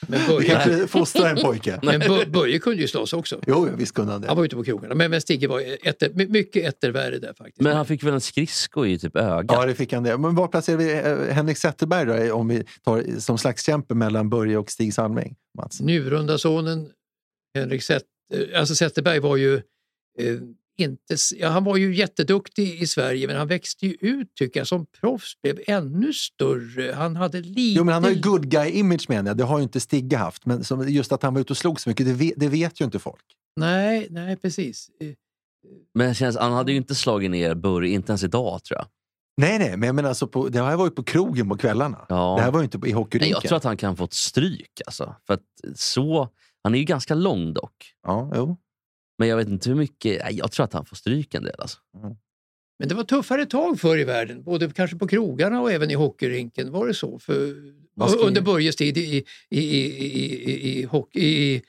Men, Du Börje, kanske fostrar en pojke. men Bör- Börje kunde ju slåss också. Jo, visst kunde han det. Han var ute på krogarna. Men, men Stigge var etter, my- mycket ettervärre där faktiskt. Men han fick väl en skridsko i typ ögat? Ja, det fick han det. Men var placerar vi eh, Henrik Zetterberg då, om vi tar som slagskämpe mellan Börje och Stig Salming? Mats? Njurundasonen Henrik Zet, eh, alltså Zetterberg var ju eh, inte... s- Ja, han var ju jätteduktig i Sverige, men han växte ju ut tycker jag som proffs, blev ännu större. Han hade lite... Jo, men han har ju good guy-image menar jag. Det har ju inte Stigge haft. Men som, just att han var ute och slog så mycket, det vet, det vet ju inte folk. Nej, nej, precis. Eh, Men det känns, han hade ju inte slagit ner Börje, inte ens idag tror jag. Nej, nej, men jag menar alltså på, det här var ju på krogen på kvällarna. Ja. Det här var ju inte på- i Nej, hockeyrinken. jag tror att han kan få ett stryk. Alltså. För att så, han är ju ganska lång dock. ja, jo. Men jag vet inte hur mycket. Nej, Jag tror att han får stryk en del. Alltså. Men det var tuffare tag förr i världen, både kanske på krogarna och även i hockeyrinken. Var det så? För, Vad ska- under Börjes tid i, i, i, i, i, i, hockey, i,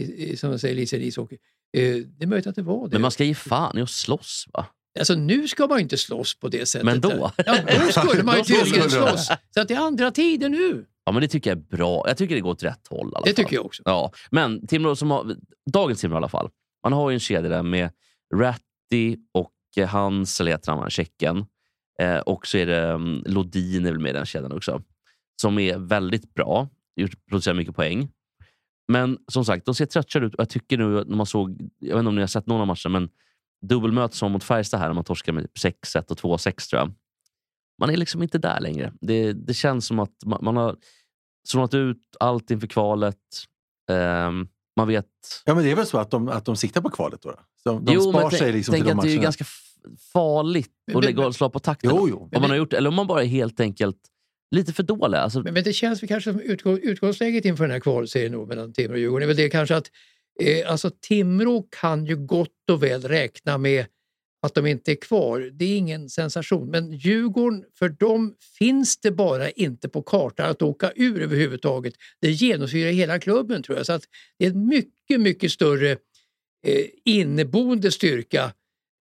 i, i som man säger, Lisen ishockey. Eh, det är möjligt att det var det. Men man ska ge fan i att slåss va? Alltså nu ska man ju inte slåss på det sättet. Men då? Ja, då skulle man ju Då skulle tydligen man. slåss. Så att det är andra tider nu. Ja, men det tycker jag är bra. Jag tycker det går åt rätt håll. i alla Det fall. tycker jag också. Ja, men Timrå som har, dagens Timrå i alla fall. Man har ju en kedja där med Ratti och eh, Hans, eller heter han, tjecken. Eh, och så är det um, Lodin är väl med i den kedjan också. Som är väldigt bra. Gjort- Producerar mycket poäng. Men som sagt, de ser tröttkörda ut. Och jag tycker nu att när man såg, jag vet inte om ni har sett någon av matcherna, men dubbelmöte som mot Färjestad här, när man torskar med 6-1 och 2-6 tror jag. Man är liksom inte där längre. Det, det känns som att man, man har zonat ut allt inför kvalet. Ehm, man vet... Ja, men det är väl så att de, att de siktar på kvalet då? då? Så de de men spar tänk- sig liksom tänk till de att det är matcherna. ganska f- farligt Men- att men- lägga och slå på takten. Jo, jo. Om man har gjort det, eller om man bara är helt enkelt lite för dålig. Alltså, Men, men det känns väl kanske som utgång, utgångsläget inför den här kvalserien då mellan Timrå och Djurgården. Det är väl det kanske att eh, alltså, Timrå kan ju gott och väl räkna med att de inte är kvar. Det är ingen sensation. Men Djurgården, för dem finns det bara inte på kartan att åka ur överhuvudtaget. Det genomsyrar hela klubben tror jag. Så att det är en mycket, mycket större eh, inneboende styrka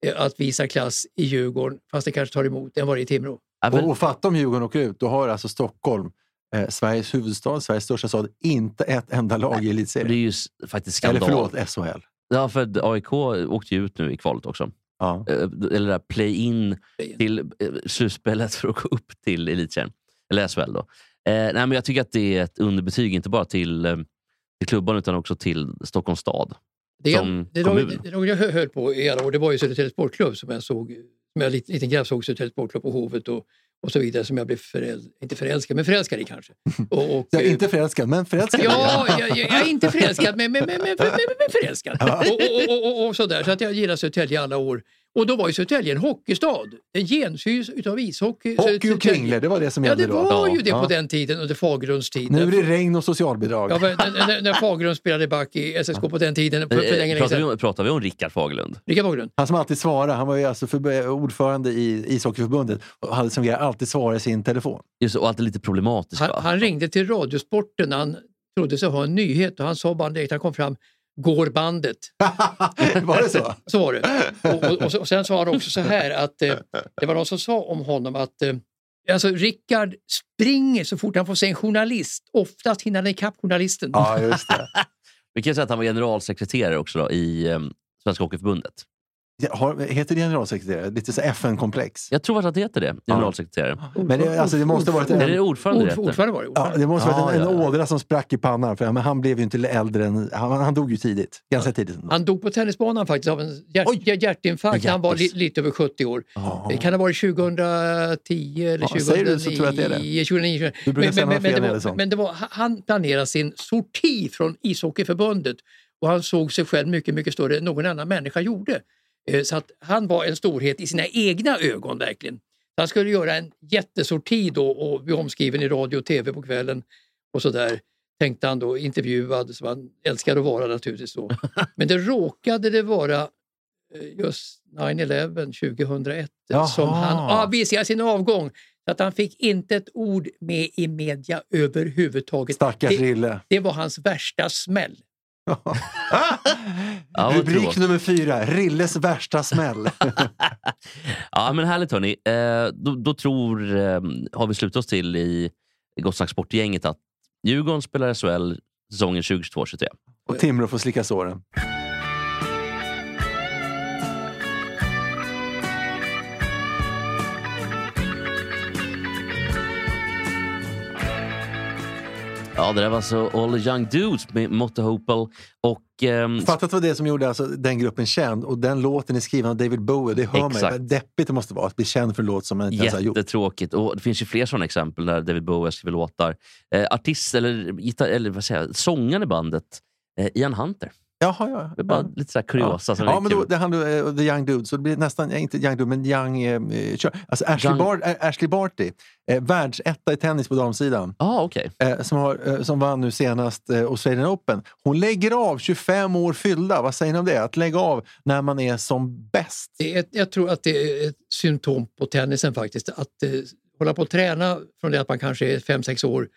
eh, att visa klass i Djurgården, fast det kanske tar emot, än vad det är i Timrå. även, Och, och fatta om Djurgården åker ut, då har alltså Stockholm, eh, Sveriges huvudstad, Sveriges största stad, inte ett enda lag i det är elitserien. ju s- faktiskt Eller skandal. förlåt, SHL. Ja, för AIK åkte ju ut nu i kvalet också. Ja. Eh, Eller det där play-in till eh, slutspelet för att gå upp till elitserien. Eller SHL då. Eh, nej, men jag tycker att det är ett underbetyg, inte bara till, eh, till klubban utan också till Stockholms stad. Det, som det, lag, kommun. det lag jag höll på i alla år det var ju Södertälje Sportklubb som jag såg. Som jag liten, liten grabb såg Södertälje Sportklubb på Hovet och, och så vidare som jag blev föräld, inte förälskad, men förälskad i kanske. Och, och, Jag är eh, inte förälskad, men förälskad. Ja, jag, jag, jag är inte förälskad, men, men, men, men, men, men, men förälskad. Och, och, och, och, och sådär. Så att jag gillar Södertälje i alla år. Och då var ju Södertälje en hockeystad. Den gensyns utav ishockey. Hockey Södertälje- och kringlor, det var det som Ja, gällde det var då. ju det Ja. på den tiden, under Fagerlunds tid. Nu är det regn och socialbidrag. Ja, men när, när, när Fagerlund spelade back i SSK på den tiden, för, för Eh, länge, länge pratar, vi sedan. om, pratar vi om Rickard Fagerlund? Rickard Fagerlund. Han som alltid svarar, han var ju alltså förb- ordförande i ishockeyförbundet och hade som grej att alltid svara i sin telefon. Just, och allt är lite problematiskt. va? Han, han ringde till Radiosporten när han trodde sig ha en nyhet och han sa bara direkt när han kom fram Går bandet? var det så? Så var det. Och, och, och, så- och sen sa han också så här att eh, det var någon som sa om honom att eh, alltså Rickard springer så fort han får se en journalist. Oftast hinner han ikapp journalisten. Ja, just det. Vi kan säga att han var generalsekreterare också då, i eh, Svenska Hockeyförbundet. Ja, Har, heter det generalsekreterare? Lite så FN-komplex. Jag tror faktiskt att det heter det, generalsekreterare. Men det, alltså, det måste ha varit Eller är det en, ordförande det Ordf- heter? Ordförande var det. ja, Ordförande. det måste ha varit en, Ja, ja, en ja. ådra som sprack i pannan. För, ja, men han blev ju inte äldre än... Han, han dog ju tidigt. Ganska tidigt. ändå. Han dog på tennisbanan faktiskt av en hjärt, Oj! hjärtinfarkt när han var li, Hjärtis. lite över 70 år. Ja. Det kan ha varit 2010 eller Ja, 2009. säger du så tror jag att det är det. 2009. Du brukar säga några fel men, det när det är var, sånt. men det var, han planerade sin sorti från ishockeyförbundet och han såg sig själv mycket, mycket större än någon annan människa gjorde. Eh, Så att han var en storhet i sina egna ögon verkligen. Han skulle göra en jättesorti då och bli omskriven i radio och tv på kvällen och sådär tänkte han då, intervjuad som han älskade att vara naturligtvis då. Men det råkade det vara eh, just 9-11 2001 som Jaha. han aviserade sin avgång. Så att han fick inte ett ord med i media överhuvudtaget. Stackars Det, Rille. det var hans värsta smäll. Ja, vad Rubrik tråkigt. nummer fyra. Rilles värsta smäll. Ja, men härligt hörni. Eh, då, då tror, eh, har vi slutat oss till i Gott Snack Sportgänget att Djurgården spelar SHL säsongen 2022-23. Och Timrå får slicka såren. Ja, det där var alltså All the Young Dudes med Motte Hopel och ehm, Fattat vad det är som gjorde alltså den gruppen känd. Och den låten är skriven av David Bowie. Det hör man Exakt. ju. Vad deppigt det måste vara att bli känd för en låt som man inte ens har gjort. Jättetråkigt. Och det finns ju fler sådana exempel där David Bowie skriver låtar. Eh, artist, eller, gitarr, eller vad säger jag, sångaren i bandet, eh, Ian Hunter. Jaha, ja. Det är bara ja. lite så här kuriosa som Ja, är men kul. då, det handlar ju, eh, The Young Dude, så det blir nästan, eh, inte Young Dude, men Young... Eh, eh, kör. alltså Ashley, Young- Bar- eh, Ashley Barty, eh, världsetta i tennis på damsidan, ah, okej. eh, som, har, eh, som vann nu senast eh, Australian Open. Hon lägger av 25 år fyllda. Vad säger ni om det? Att lägga av när man är som bäst. Det är, ett- jag tror att det är ett symptom på tennisen faktiskt. Att eh, hålla på och träna från det att man kanske är 5-6 år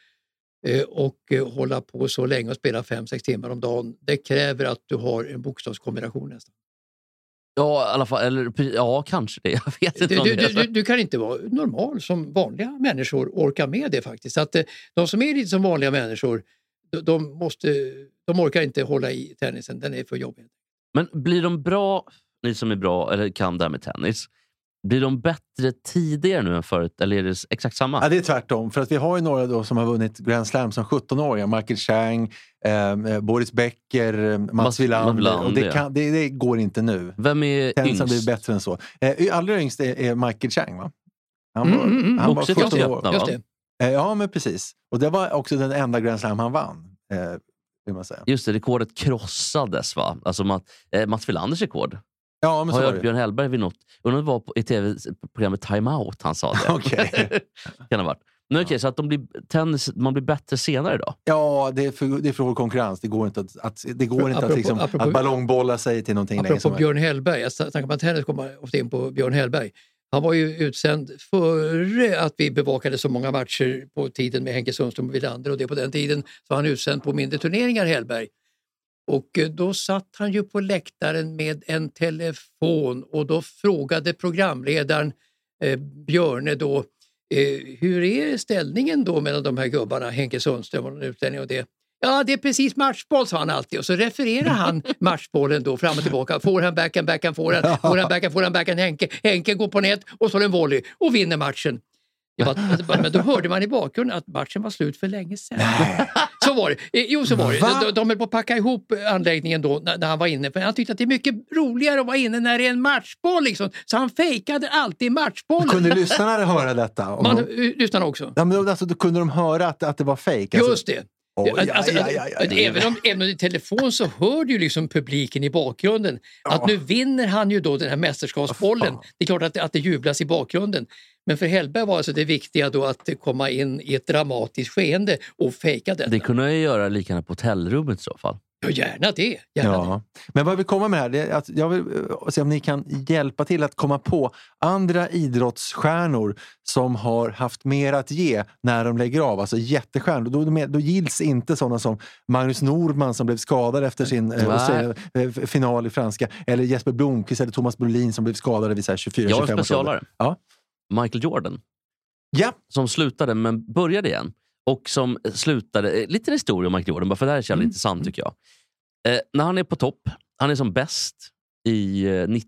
eh, och eh, hålla på så länge och spela 5-6 timmar om dagen. Det kräver att du har en bokstavskombination nästan. Ja, i alla fall. Eller, pre- ja, kanske det. Jag vet Du, inte. om du, det är du, så. du, du kan inte vara normal som vanliga människor orkar med det faktiskt. Så Att, eh, de som är lite som vanliga människor, de, de, måste, de orkar inte hålla i tennisen. Den är för jobbig. Men blir de bra, ni som är bra eller kan det här med tennis, blir de bättre tidigare nu än förut? Eller är det s- exakt samma? Ja, det är tvärtom. För att vi har ju några då som har vunnit Grand Slam som 17-åringar. Michael Chang, eh, eh, Boris Becker, eh, Mats Mats Wilander. Wilander, Och det, ja. kan, det, det går inte nu. Vem är Tennis har blivit yngst? bättre än så. Eh, allra yngst är, är Michael Chang, va? Han var, Mm, mm, mm. han var Också ett 17 jättejätna, år. va? Just det. Eh, ja, men precis. Och det var också den enda Grand Slam han vann. Eh, vill man säga. Just det, rekordet krossades va? Alltså Mat, eh, Mats Wilanders rekord. Ja, men har så jag var hört det. Björn Hellberg vid något. Undrar om det var på, i tv-programmet Time Out han sa det. Okej. kan ha varit. Men okej, så att de blir, tennis, man blir bättre senare då? Ja, det är, för, det är för hård konkurrens. Det går inte att, att, det går inte att, Apropå- liksom, apropå- att ballongbolla sig till någonting länge Apropå som helst. Björn Hellberg, jag sn- snackar man tennis kommer man ofta in på Björn Hellberg. Han var ju utsänd före att vi bevakade så många matcher på tiden med Henke Sundström och Wilander och det på den tiden så var han utsänd på mindre turneringar Hellberg. Och eh, då satt han ju på läktaren med en telefon och då frågade programledaren eh, Björne då eh, hur är ställningen då mellan de här gubbarna, Henke Sundström och den utlänningen och det? Ja, det är precis matchboll, sa han alltid. Och så refererar han matchbollen då fram och tillbaka. Forehand, backhand, backhand, forehand. Forehand, backhand, forehand, backhand. Henke, Henke går på nät och slår en volley och vinner matchen. Det var, men då hörde man i bakgrunden att matchen var slut för länge sedan. Så var det. Eh, Jo, så var det. Va? De, de höll på att packa ihop anläggningen då när, när han var inne. För han tyckte att det är mycket roligare att vara inne när det är en matchboll. Liksom. Så han fejkade alltid matchbollen. Kunde lyssnarna höra detta? Om Man de, eh, lyssnar också. ja, men, alltså, då kunde de höra att, att det var fejk? Alltså, Just det. Oj, Alltså, alltså, aj, aj, aj, aj. Även om även om det är telefon så hör du ju liksom publiken i bakgrunden. Att nu vinner han ju då den här mästerskapsbollen. Det är klart att, det- att det jublas i bakgrunden. Men för Hellberg var alltså det viktiga då att komma in i ett dramatiskt skeende och fejka detta. Det kunde jag ju göra lika gärna på hotellrummet i så fall. Ja, gärna det. Gärna det. Ja. Men vad jag vill komma med här, det är att jag vill eh, se om ni kan hjälpa till att komma på andra idrottsstjärnor som har haft mer att ge när de lägger av. Alltså jättestjärnor. Då, då, då gills inte sådana som Magnus Norman som blev skadad efter sin eh, Mm. Nej. Australien- eh, f- final i franska. Eller Jesper Blomqvist eller Thomas Brolin som blev skadade vid så här 24-25 Jag har års en ålder. specialare. Ja. Michael Jordan. Ja. Som slutade men började igen. Och som slutade... eh, Liten historia om Michael Jordan, bara för det här är så Mm. jävla intressant tycker jag. Eh, när han är på topp, han är som bäst i eh, 92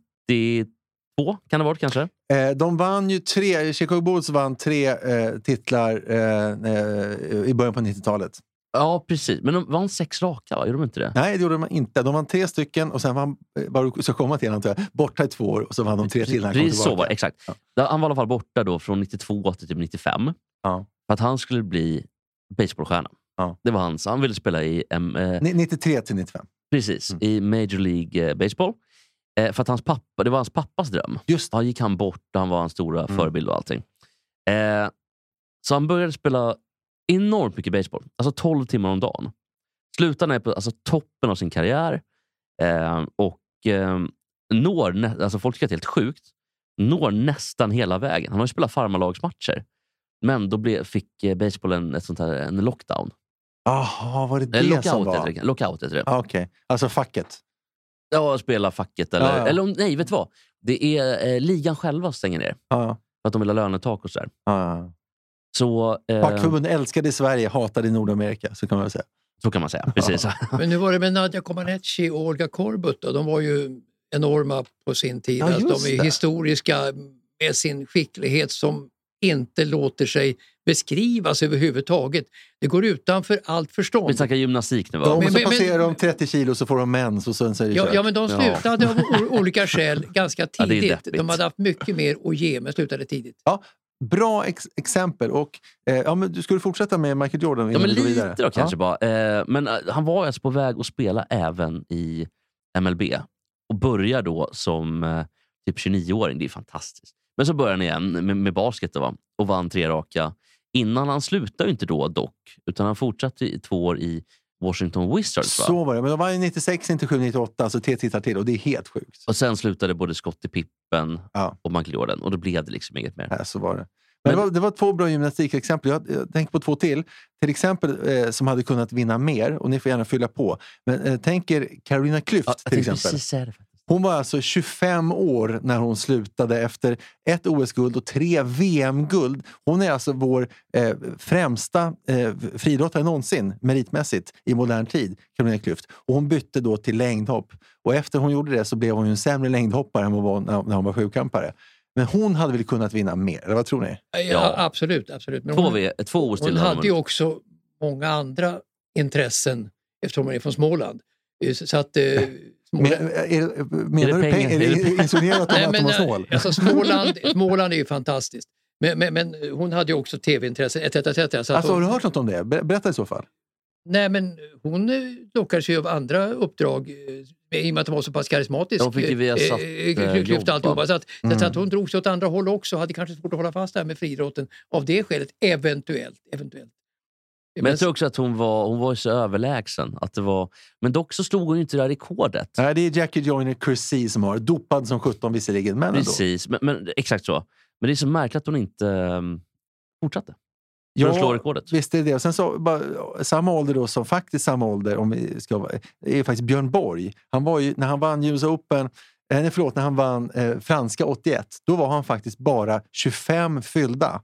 kan det ha varit kanske. Eh, de vann ju tre, Chicago Bulls vann tre eh, titlar eh, eh, i början på 90-talet. Ja, precis. Men de vann sex raka, va? Gjorde de inte det? Nej, det gjorde man inte. De vann tre stycken och sen vann, eh, vad du ska komma till antar jag, borta i två år och så vann de tre till när han kom Precis så tillbaka. var det, exakt. Ja. Där- Han var i alla fall borta då från 92 till typ 95. Ja. För att han skulle bli baseballstjärna. Ja. Det var hans. Han ville spela i... em, eh, Ni- 93 till 95. Precis, Mm. i Major League eh, Baseball. Eh, för att hans pappa, det var hans pappas dröm. Just Han gick han bort och han var hans stora Mm. förebild och allting. Eh, så han började spela enormt mycket baseball. Alltså 12 timmar om dagen. Slutade han på alltså, toppen av sin karriär. Eh, och eh, når, nä- alltså folk tycker att det är helt sjukt, når nästan hela vägen. Han har ju spelat farmarlagsmatcher. Men då blev, fick eh, baseballen ett sånt här, en lockdown. Jaha, var det det Eh, som lockout, heter var? det. lockout heter det. Ah, Okej, alltså facket. Ja, spela facket. Eller, Ja, ja. eller om, nej, vet du vad? Det är eh, ligan själva som stänger ner. Ah, ja, För att de vill ha lönetak och sådär. ah. Så, eh, Fackförbund älskade i Sverige, hatade i Nordamerika. Så kan man väl säga. så kan man säga. Precis. Men nu var det med Nadja Comaneci och Olga Korbut. Då. De var ju enorma på sin tid. Ja, alltså, just de är det. historiska med sin skicklighet som inte låter sig beskrivas överhuvudtaget. Det går utanför allt förstånd. Vi snackar gymnastik nu va? De, men- så men- passerar men- de 30 kilo så får de mens och sen så är det Ja, kört. ja, men de Ja. slutade av o- olika skäl ganska Ja, det är tidigt. deppigt. de hade haft mycket mer att ge, men slutade tidigt. Ja, Bra ex- exempel. Och, eh, ja, men du skulle fortsätta med Michael Jordan? Ja, innan men vi går lite vidare? då kanske bara. Eh, men eh, han var alltså på väg att spela även i MLB och börjar då som eh, typ 29-åring. Det är fantastiskt. Men så börjar han igen med, med basket då, va? och vann tre raka. Innan han slutade ju inte då dock, utan han fortsatte i två år i Washington Wizards. Va? Så var det. Men de var ju 96, 97, 98. Så T tittar till och det är helt sjukt. Och sen slutade både Scottie Pippen Ja. och Michael Jordan och då blev det liksom inget mer. Ja, så var det. Men, Men- det, var, det var två bra gymnastikexempel. Jag, jag tänker på två till. Till exempel eh, som hade kunnat vinna mer, och ni får gärna fylla på. Men eh, tänk er Carolina Klüft Ja, jag till tänkte exempel. precis säga det. Hon var alltså 25 år när hon slutade efter ett OS-guld och tre VM-guld. Hon är alltså vår eh, främsta eh, friidrottare någonsin meritmässigt i modern tid, Carolina Klüft. Och hon bytte då till längdhopp. Och efter hon gjorde det så blev hon ju en sämre längdhoppare än vad hon var när när hon var sjukampare. Men hon hade väl kunnat vinna mer? Eller vad tror ni? Ja, Ja. Absolut. absolut. Men Två, hon- v, två OS Hon till hade ju också många andra intressen eftersom hon är från Småland. Eh, Så så att, eh, Men, Småland eh, är, det- menar Är du pengar? det pengar? Mm. Är Är det insinuerat att hon- Nej, att men, hon var eh, snål? alltså Småland, Småland är ju fantastiskt. Men, men, men hon hade ju också tv-intressen etc. etc. Så att Alltså, har hon, du hört något om det? Ber- Berätta i så fall. nej, men hon eh, lockades ju av andra uppdrag eh, i och med att hon var så pass karismatisk. De fick ju eh, Viasat, eh, eh, klyft- klyft jobb, va? alltihopa. Så, att, så, att, så Mm. att hon drog sig åt andra håll också. Hade kanske svårt att hålla fast det här med friidrotten av det skälet. Eventuellt. eventuellt. Men jag tror också att hon var, hon var ju så överlägsen. Att det var, men dock så slog hon ju inte det här rekordet. Nej, det är Jackie Joyner Kersee som har. Dopad som 17 visserligen, men ändå. Precis, men, men, exakt så. Men det är så märkligt att hon inte um, fortsatte. För Ja, att slå rekordet. Visst är det det. Och sen så, bara, samma ålder då, som faktiskt samma ålder, om vi ska, vara- är faktiskt Björn Borg. Han var ju, när han vann US Open, eh, nej, förlåt, när han vann eh, franska 81, då var han faktiskt bara 25 fyllda.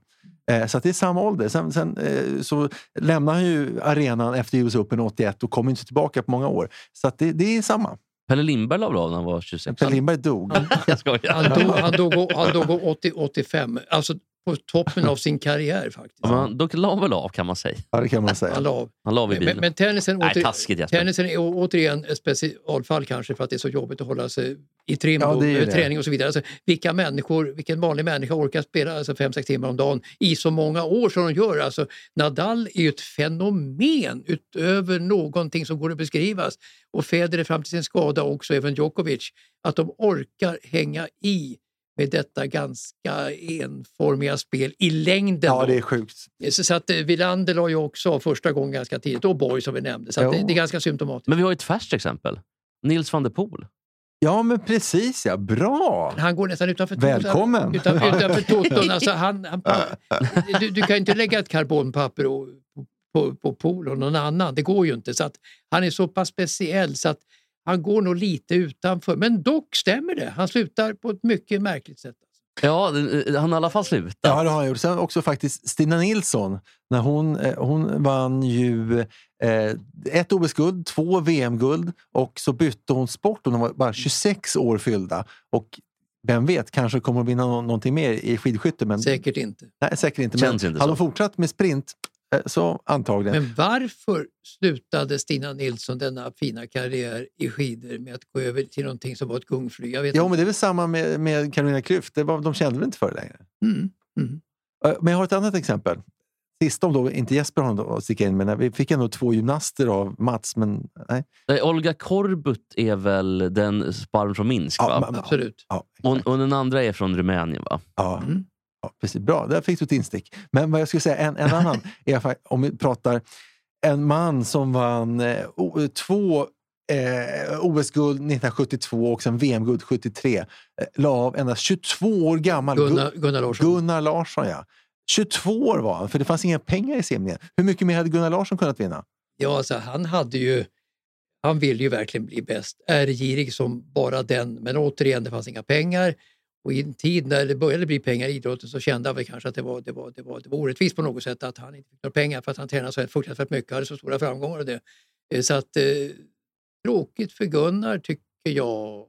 Eh, så att det är samma ålder. Sen, sen eh, så lämnade han ju arenan efter US Open 81 och kom inte tillbaka på många år. Så att det, det är samma. Pelle Lindberg la väl av när han var 26? Per Lindberg dog. Jag skojar. Han dog, han dog, han dog 80, 85, alltså på toppen av sin karriär faktiskt. Ja, Men då la han väl av kan man säga. Ja, det kan man säga. Han la av. Han la av i bilen. Men, men tennisen, Nej, åter, taskigt Jesper. tennisen är å- återigen ett specialfall kanske för att det är så jobbigt att hålla sig i trim Ja, då, det är ju med det. träning och så vidare. Alltså, vilka människor, vilken vanlig människa orkar spela alltså, 5-6 timmar om dagen i så många år som de gör? Alltså, Nadal är ju ett fenomen utöver någonting som går att beskrivas. Och Federer fram till sin skada också, även Djokovic. Att de orkar hänga i med detta ganska enformiga spel i längden. Ja, då. det är sjukt. Så, så att eh, Wilander la ju också av första gången ganska tidigt och Borg som vi nämnde. Så att Jo. det, det är ganska symptomatiskt. Men vi har ju ett färskt exempel. Nils van der Poel. Ja, men precis ja. Bra! Han går nästan utanför Välkommen! Utan, utanför toton. Alltså han, han, du, du kan ju inte lägga ett karbonpapper och, på, på pool och någon annan. Det går ju inte. Så att han är så pass speciell så att han går nog lite utanför. Men dock stämmer det. Han slutar på ett mycket märkligt sätt. Ja, eh, han har i alla fall slutat. Ja, det har han gjort. Sen också faktiskt Stina Nilsson. När hon, eh, hon vann ju eh, ett OS-guld, två VM-guld och så bytte hon sport och hon var bara 26 år fyllda. Och vem vet, kanske kommer hon vinna nå- någonting mer i skidskytte. Men, Säkert inte. Nej, säkert inte. Känns men inte hade så. hon fortsatt med sprint eh, så antagligen. Men varför slutade Stina Nilsson denna fina karriär i skidor med att gå över till någonting som var ett gungfly? Jag vet ja, inte. men det är väl samma med, med Carolina Klüft. Det var, de kände väl inte för det längre. Mm, mm. Eh, Men jag har ett annat exempel. Sist om då, inte Jesper har något att sticka in med. Vi fick ändå två gymnaster av Mats, men nej. Nej, Eh, Olga Korbut är väl den sparren från Minsk? Ja, va? men- Absolut. Ja, Och, och den andra är från Rumänien, va? Ja. Mm. ja, precis. Bra, där fick du ett instick. Men vad jag skulle säga, en, en annan, är fa- om vi pratar en man som vann eh, o- två eh, OS-guld 1972 och sen VM-guld 73. Eh, la av endast 22 år gammal. Gu- Gunnar, Gunnar Larsson. Gunnar Larsson, ja. 22 år var han, för det fanns inga pengar i simningen. Hur mycket mer hade Gunnar Larsson kunnat vinna? Ja, alltså, han hade ju... Han ville ju verkligen bli bäst. Ärgirig som bara den. Men återigen, det fanns inga pengar. Och i en tid när det började bli pengar i idrotten så kände han väl kanske att det var, det var, det var, det var orättvist på något sätt att han inte fick några pengar för att han tränade så fruktansvärt mycket och hade så stora framgångar. Och det. Eh, Så att, eh, tråkigt för Gunnar tycker jag.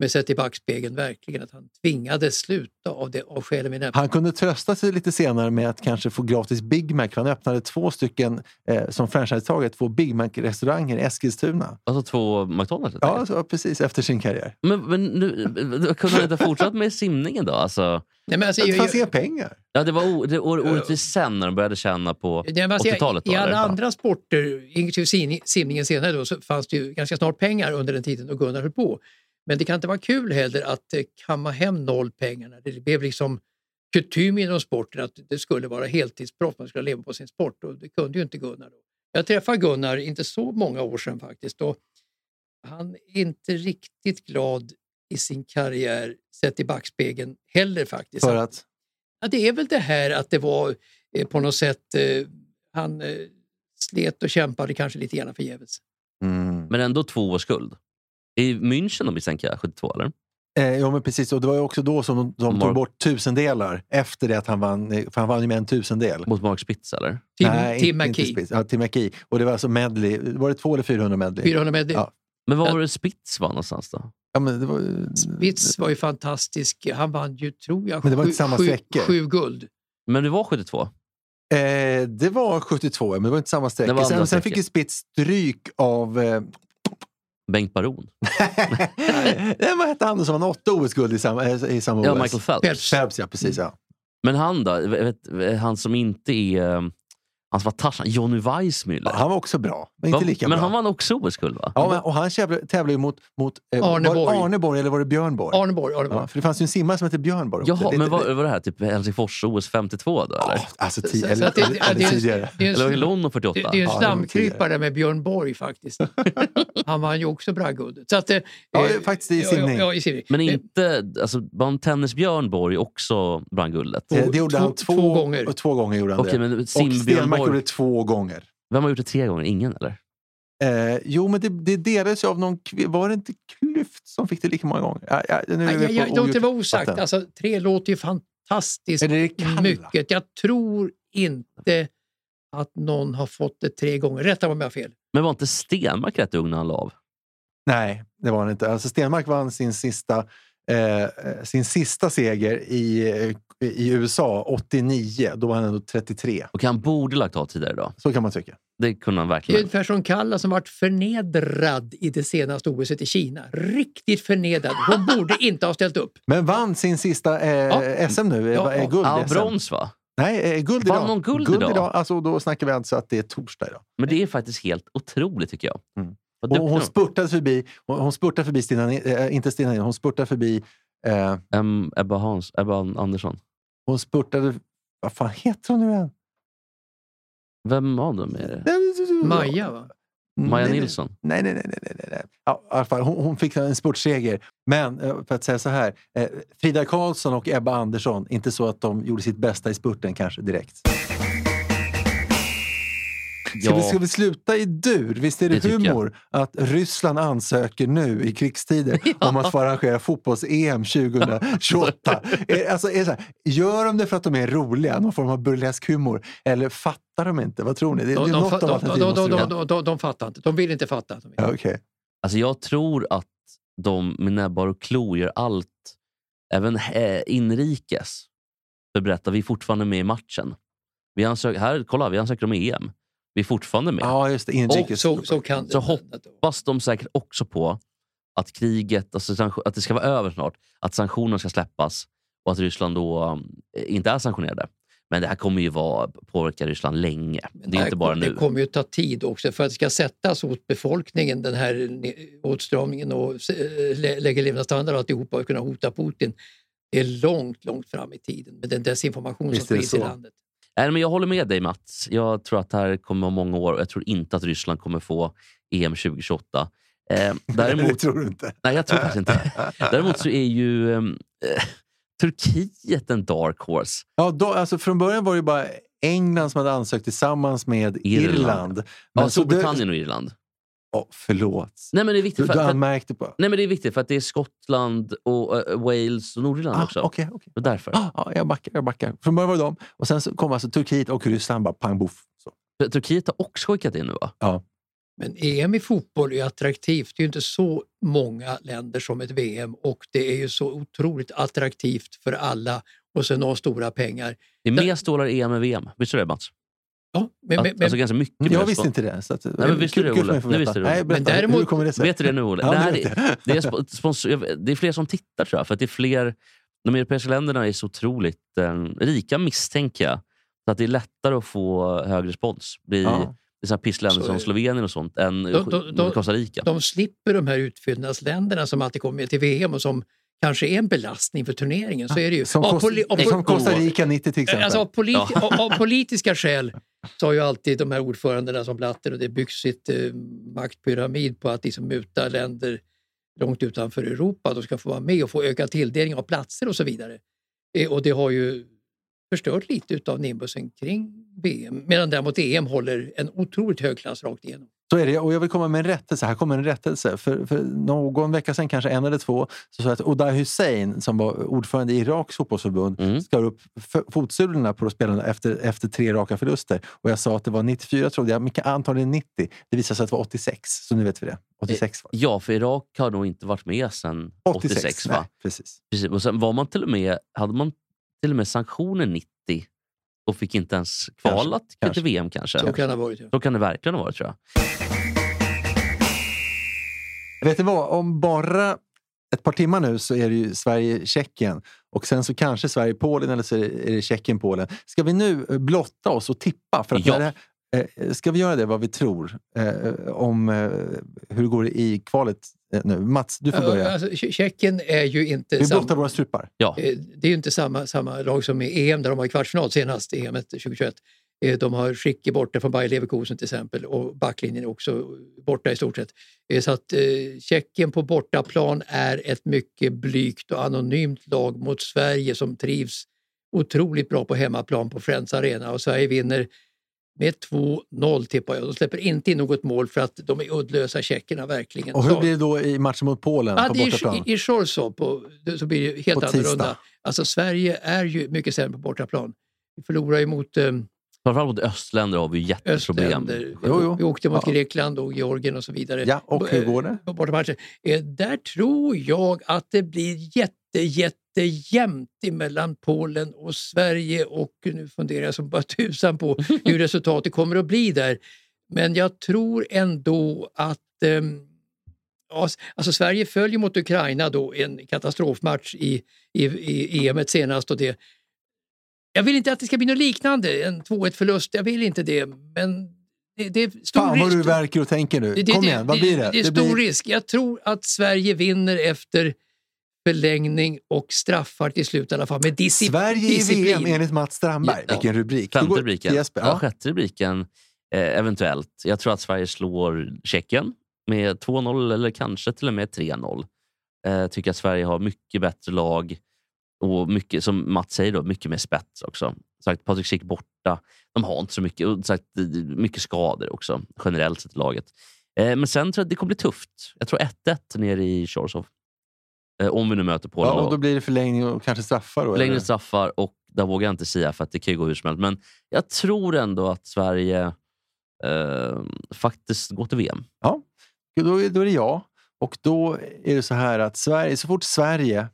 Men sett i backspegeln verkligen att han tvingades sluta av, det, av skälen vi nämnde. Han kunde trösta sig lite senare med att kanske få gratis Big Mac. För han öppnade två stycken, eh, som franchisetagare, två Big Mac-restauranger i Eskilstuna. Alltså två McDonalds? helt Ja, enkelt. så, precis. Efter sin karriär. Men, men nu, kunde han inte ha fortsatt med simningen då? Alltså, Nej, men alltså, Det jag- fanns jag- inga pengar. ja, det var o, det, or, orättvist sen när de började tjäna på Ja, men alltså, 80-talet. då, I alla eller? andra sporter, inklusive sim- simningen senare, då, så fanns det ju ganska snart pengar under den tiden då Gunnar höll på. Men det kan inte vara kul heller att eh, kamma hem noll pengarna. Det blev liksom kutym inom sporten att det skulle vara heltidsproffs, man skulle leva på sin sport. Och det kunde ju inte Gunnar. Då. Jag träffade Gunnar inte så många år sedan faktiskt. Och han är inte riktigt glad i sin karriär sett i backspegeln heller faktiskt. För att... Ja, det är väl det här att det var eh, på något sätt... Eh, han eh, slet och kämpade kanske lite grann förgäves. Mm. Men ändå två års skuld. I München då misstänker jag, 72 eller? Eh, ja, men precis. Och det var ju också då som de, de Mark- tog bort tusendelar. Efter det att han vann. eh, För han vann ju med en tusendel. Mot Mark Spitz eller? Tim, Nej, Tim inte McKee. Spitz. Ja, Tim McKee. Och det var alltså medley. Var det två eller 400 medley? 400 med Ja. Men var var det Spitz var någonstans då? Ja, men det var, Spitz var ju fantastisk. Han vann ju, tror jag, Men det var sju, inte samma sju, sträckor. sju guld. Men det var 72? Eh, det var 72, men det var inte samma Det var sträcka. andra Sen, sen sträckor. fick ju Spitz stryk av... Eh, Bengt Baron? nej, vad hette han som vann åtta OS-guld i samma, eh, i samma Ja, OS? Michael Phelps. Mm. Phelps. Phelps, ja. Precis, ja. Men han då? Vet, han som inte är... eh, Han som var Tarzan, Johnny Weissmuller. Ja, Han var också bra, men inte Va- lika men bra. han vann också OS-guld va? ja, men, och han tävlade, tävlade ju mot, mot eh, Arne var det Borg. Arne Borg eller var det Björn Borg? Arne Borg. Arne Borg. Ja, för det fanns ju en simmare som hette Björn Borg. också. Jaha, Det- men det- vad var det här? Typ Helsingfors-OS 52 då eller? Ja, alltså, ti- Så- så eller, att det- eller, ja, det är- tidigare. Det är en Eller var det slam- London 48? det- det är en Ja, det var slamkrypare tidigare. med Björn Borg faktiskt. Han vann ju också bragdguldet. Så att, eh, Ja, eh, faktiskt i ja, simning. Ja, ja, i simning. Men inte... Alltså, vann Tennis-Björn Borg också brann guldet? Eh, Det gjorde två- han två, två gånger. och Två gånger gjorde han Okej, det. men Och Sim-Björn Stenmark gjorde Borg. det två gånger. Vem har gjort det tre gånger? Ingen eller? Eh, jo, men det, det delades ju av någon... kvi- Var det inte Klyft som fick det lika många gånger? Ja, ja, nu är Aj, vi aj, på aj, låt det ogjort vara osagt. vatten. Alltså, tre låter ju fantastiskt Eller är det Kalla? mycket. Jag tror inte att någon har fått det tre gånger. Rätta mig om jag har fel. Men var inte Stenmark rätt ung när han la av? Nej, det var det inte. Alltså Stenmark vann sin sista, eh, eh, sin sista seger i, eh, i USA 89. Då var han ändå 33. Och han borde lagt av tidigare då. Så kan man tycka. Det kunde han Det är verkligen. ungefär som Kalla som varit förnedrad i det senaste OS i Kina. Riktigt förnedrad. Hon borde inte ha ställt upp. Men vann sin sista eh, Ja. SM nu. eh, Ja, va- eh, ja. guld Ja, i SM. brons va? Nej, eh, guld Vann idag. hon guld idag? Alltså, då snackar vi alltså att det är torsdag idag. Men det är faktiskt helt otroligt tycker jag. Mm. Vad Och duktig hon hon spurtade förbi, hon, hon spurtade förbi Stina, Ni- eh, inte Stina, Nilsson, hon spurtade förbi eh, Em, Ebba, Hans, Ebba Andersson. Hon spurtade... Vad fan heter hon nu igen? Vem av dem är det? Maja, va? Maja Nej, nej. Nilsson? Nej, nej, nej. nej, nej, nej. Ja, i alla fall, hon, hon fick en spurtseger. Men eh, för att säga så här. Eh, Frida Karlsson och Ebba Andersson, inte så att de gjorde sitt bästa i spurten kanske direkt. Ska, vi, Ja. ska vi sluta i dur? Visst är det, Det tycker jag. humor att Ryssland ansöker nu i krigstider om att få arrangera fotbolls-EM 2028? är, alltså, är det så här, gör de det för att de är roliga, någon form av burlesk humor? Eller fattar de inte? Vad tror ni? Det, det är De, de, något fa- av de, de, alternativen de, måste det de, vara. de, de, de fattar inte. De vill inte fatta. De vill. Ja, okej. Alltså jag tror att de med näbbar och klor gör allt, även eh, inrikes, för att berätta vi är fortfarande med i matchen. Vi ansöker, här, kolla, vi ansöker om EM. Vi är fortfarande med. Ja, just det. Inrikes. Så, så kan det. Så hoppas de säkert också på att kriget, alltså sanktio- att det ska vara över snart, att sanktionerna ska släppas och att Ryssland då um, inte är sanktionerade. Men det här kommer ju vara, påverka Ryssland länge. Men det är här inte bara kom- nu. Det kommer ju ta tid också för att det ska sättas åt befolkningen den här ne- åtstramningen och eh, lä- lägga levnadsstandard och alltihopa och kunna hota Putin. Det är långt, långt fram i tiden med den desinformation som Visst är det sprids i så. landet. Nej, men jag håller med dig Mats. Jag tror att det här kommer vara många år och jag tror inte att Ryssland kommer få EM 2028. Eh, Däremot... Det däremot, tror du inte. nej, jag tror faktiskt inte. Däremot så är ju ehm, eh, Turkiet en dark horse. Ja, då, alltså från början var det ju bara England som hade ansökt tillsammans med Irland. Irland. Ja, så Storbritannien Det, och Irland. oh, förlåt. Nej, men det är viktigt. Du, För, du för, anmärkte på... Nej, men det är viktigt för att det är Skottland, och eh, Wales och Nordirland Ah, också. Okej, okej. Och därför. Ah, ja, jag backar, jag backar. Från början var det dem. Och Typ sen så kom alltså Turkiet och Ryssland bara pang boff. Så. För Turkiet har också skickat in nu va? Ja. Men EM i fotboll är attraktivt. Det är ju inte så många länder som ett VM och det är ju så otroligt attraktivt för alla och sen har stora pengar. Det är mer stålar i EM än VM. Visste du det Mats? Ja, men, Att, men, alltså men, ganska mycket mer Jag visste stålar. inte det. Så att, eh, men visste du det, kul för Olle? mig att få Nu veta. visste du det. Nej, berätta, Men däremot- hur kommer det sig? Vet du det nu Olle? Ja, nu Nej, det, vet jag. det, är sp- sponsor, jag- det är fler som tittar tror jag. För att det är fler, de europeiska länderna är så otroligt eh, rika misstänker jag. Så att det är lättare att få hög respons. Det är, Ja. det är så här pissländer Så är som det. Slovenien och sånt än De- de- de- Costa Rica. de slipper de här utfyllnadsländerna som alltid kommer till VM och som kanske är en belastning för turneringen. Så är det ju. Som, Av Costa- poli- av poli- som Costa Rica 90 till Eh, exempel. Alltså, av, politi- av, av politiska skäl så har ju alltid de här ordförandena som Blatter och det byggs sitt eh, maktpyramid på att liksom muta länder långt utanför Europa. De ska få vara med och få ökad tilldelning av platser och så vidare. Eh, och det har ju förstört lite av nimbusen kring VM. Medan däremot EM håller en otroligt hög klass rakt igenom. Så är det. Och jag vill komma med en rättelse. Här kommer en rättelse. För, för någon vecka sedan, kanske en eller två, så sa jag att Oda Hussein, som var ordförande i Iraks fotbollsförbund, Mm. skar upp f- fotsulorna på spelarna efter, efter tre raka förluster. Och jag sa att det var 94, trodde jag, men kan- antagligen 90. Det visade sig att det var 86, så nu vet vi det. 86 var det. Ja, för Irak har nog inte varit med sedan 86. va? nej, precis. Precis. Och sen var man till och med, hade man till och med sanktioner 90 och fick inte ens kvalat kanske. till VM kanske. Så kan det ha varit. Ja. Så kan det verkligen ha varit tror jag. Vet ni vad? Om bara ett par timmar nu så är det ju Sverige-Tjeckien och sen så kanske Sverige-Polen eller så är det- är det Tjeckien-Polen. Ska vi nu eh, blotta oss och tippa? För att Ja. när det, eh, ska vi göra det, vad vi tror eh, om eh, hur det går i kvalet eh, nu? Mats, du får börja. Alltså, Tje- Tjeckien är ju inte... Vi sam- blottar våra strupar. Ja. Eh, Det är ju inte samma, samma lag som i EM där de var i kvartsfinal senast, E EM 2021. Eh, De har Schicke borta från Bayer Leverkusen till exempel och backlinjen är också borta i stort sett. Eh, Så att eh, Tjeckien på bortaplan är ett mycket blygt och anonymt lag mot Sverige som trivs otroligt bra på hemmaplan på Friends Arena och Sverige vinner med 2-0 tippar jag. De släpper inte in något mål för att de är uddlösa tjeckerna verkligen. Och hur Så- blir det då i matchen mot Polen Ja, på det är bortaplan? ju- i Chorzo på, så blir det ju helt På tisdag. annorlunda. Alltså Sverige är ju mycket sämre på bortaplan. Vi förlorar ju mot eh, Framförallt mot östländer har vi jätteproblem. östländer. Jo, jo. Vi åkte mot Ja. Grekland och Georgien och så vidare. Ja, och hur går det? På bortamatcher. Eh, Där tror jag att det blir jätte, jätte jämnt mellan Polen och Sverige och nu funderar jag som bara tusan på hur resultatet kommer att bli där. Men jag tror ändå att ehm, ja, s- alltså Sverige följer mot Ukraina då i en katastrofmatch i, i, i EM senast och det jag vill inte att det ska bli något liknande, en 2-1 förlust. Jag vill inte det. Men det, det är stor Fan vad risk. du verkar och tänker nu. Det- det- Kom det- igen, vad blir det? Det är blir- stor risk. Jag tror att Sverige vinner efter förlängning och straffar till slut i alla fall. Med disci- Sverige i disciplin. VM enligt Mats Strandberg. Ja. Vilken rubrik. Då Femte går- rubriken. Jesper, ja. ja. Sjätte rubriken, eh, eventuellt. Jag tror att Sverige slår Tjeckien med 2-0 eller kanske till och med 3-0. Eh, tycker att Sverige har mycket bättre lag och mycket, som Mats säger, då, mycket mer spets också. Sagt, Patrik Schick borta. De har inte så mycket. Och sagt, det- det- mycket skador också, generellt sett i laget. Eh, men sen tror jag att det kommer bli tufft. Jag tror 1-1 nere i Chorzow. Eh, om vi nu möter Polen. Ja, då. och då blir det förlängning och kanske straffar då? Längre eller? straffar och där vågar jag inte säga för att det kan ju gå hur som helst. Men jag tror ändå att Sverige eh, faktiskt går till VM. då, är- då är det jag. Och då är det så här att Sverige, så fort Sverige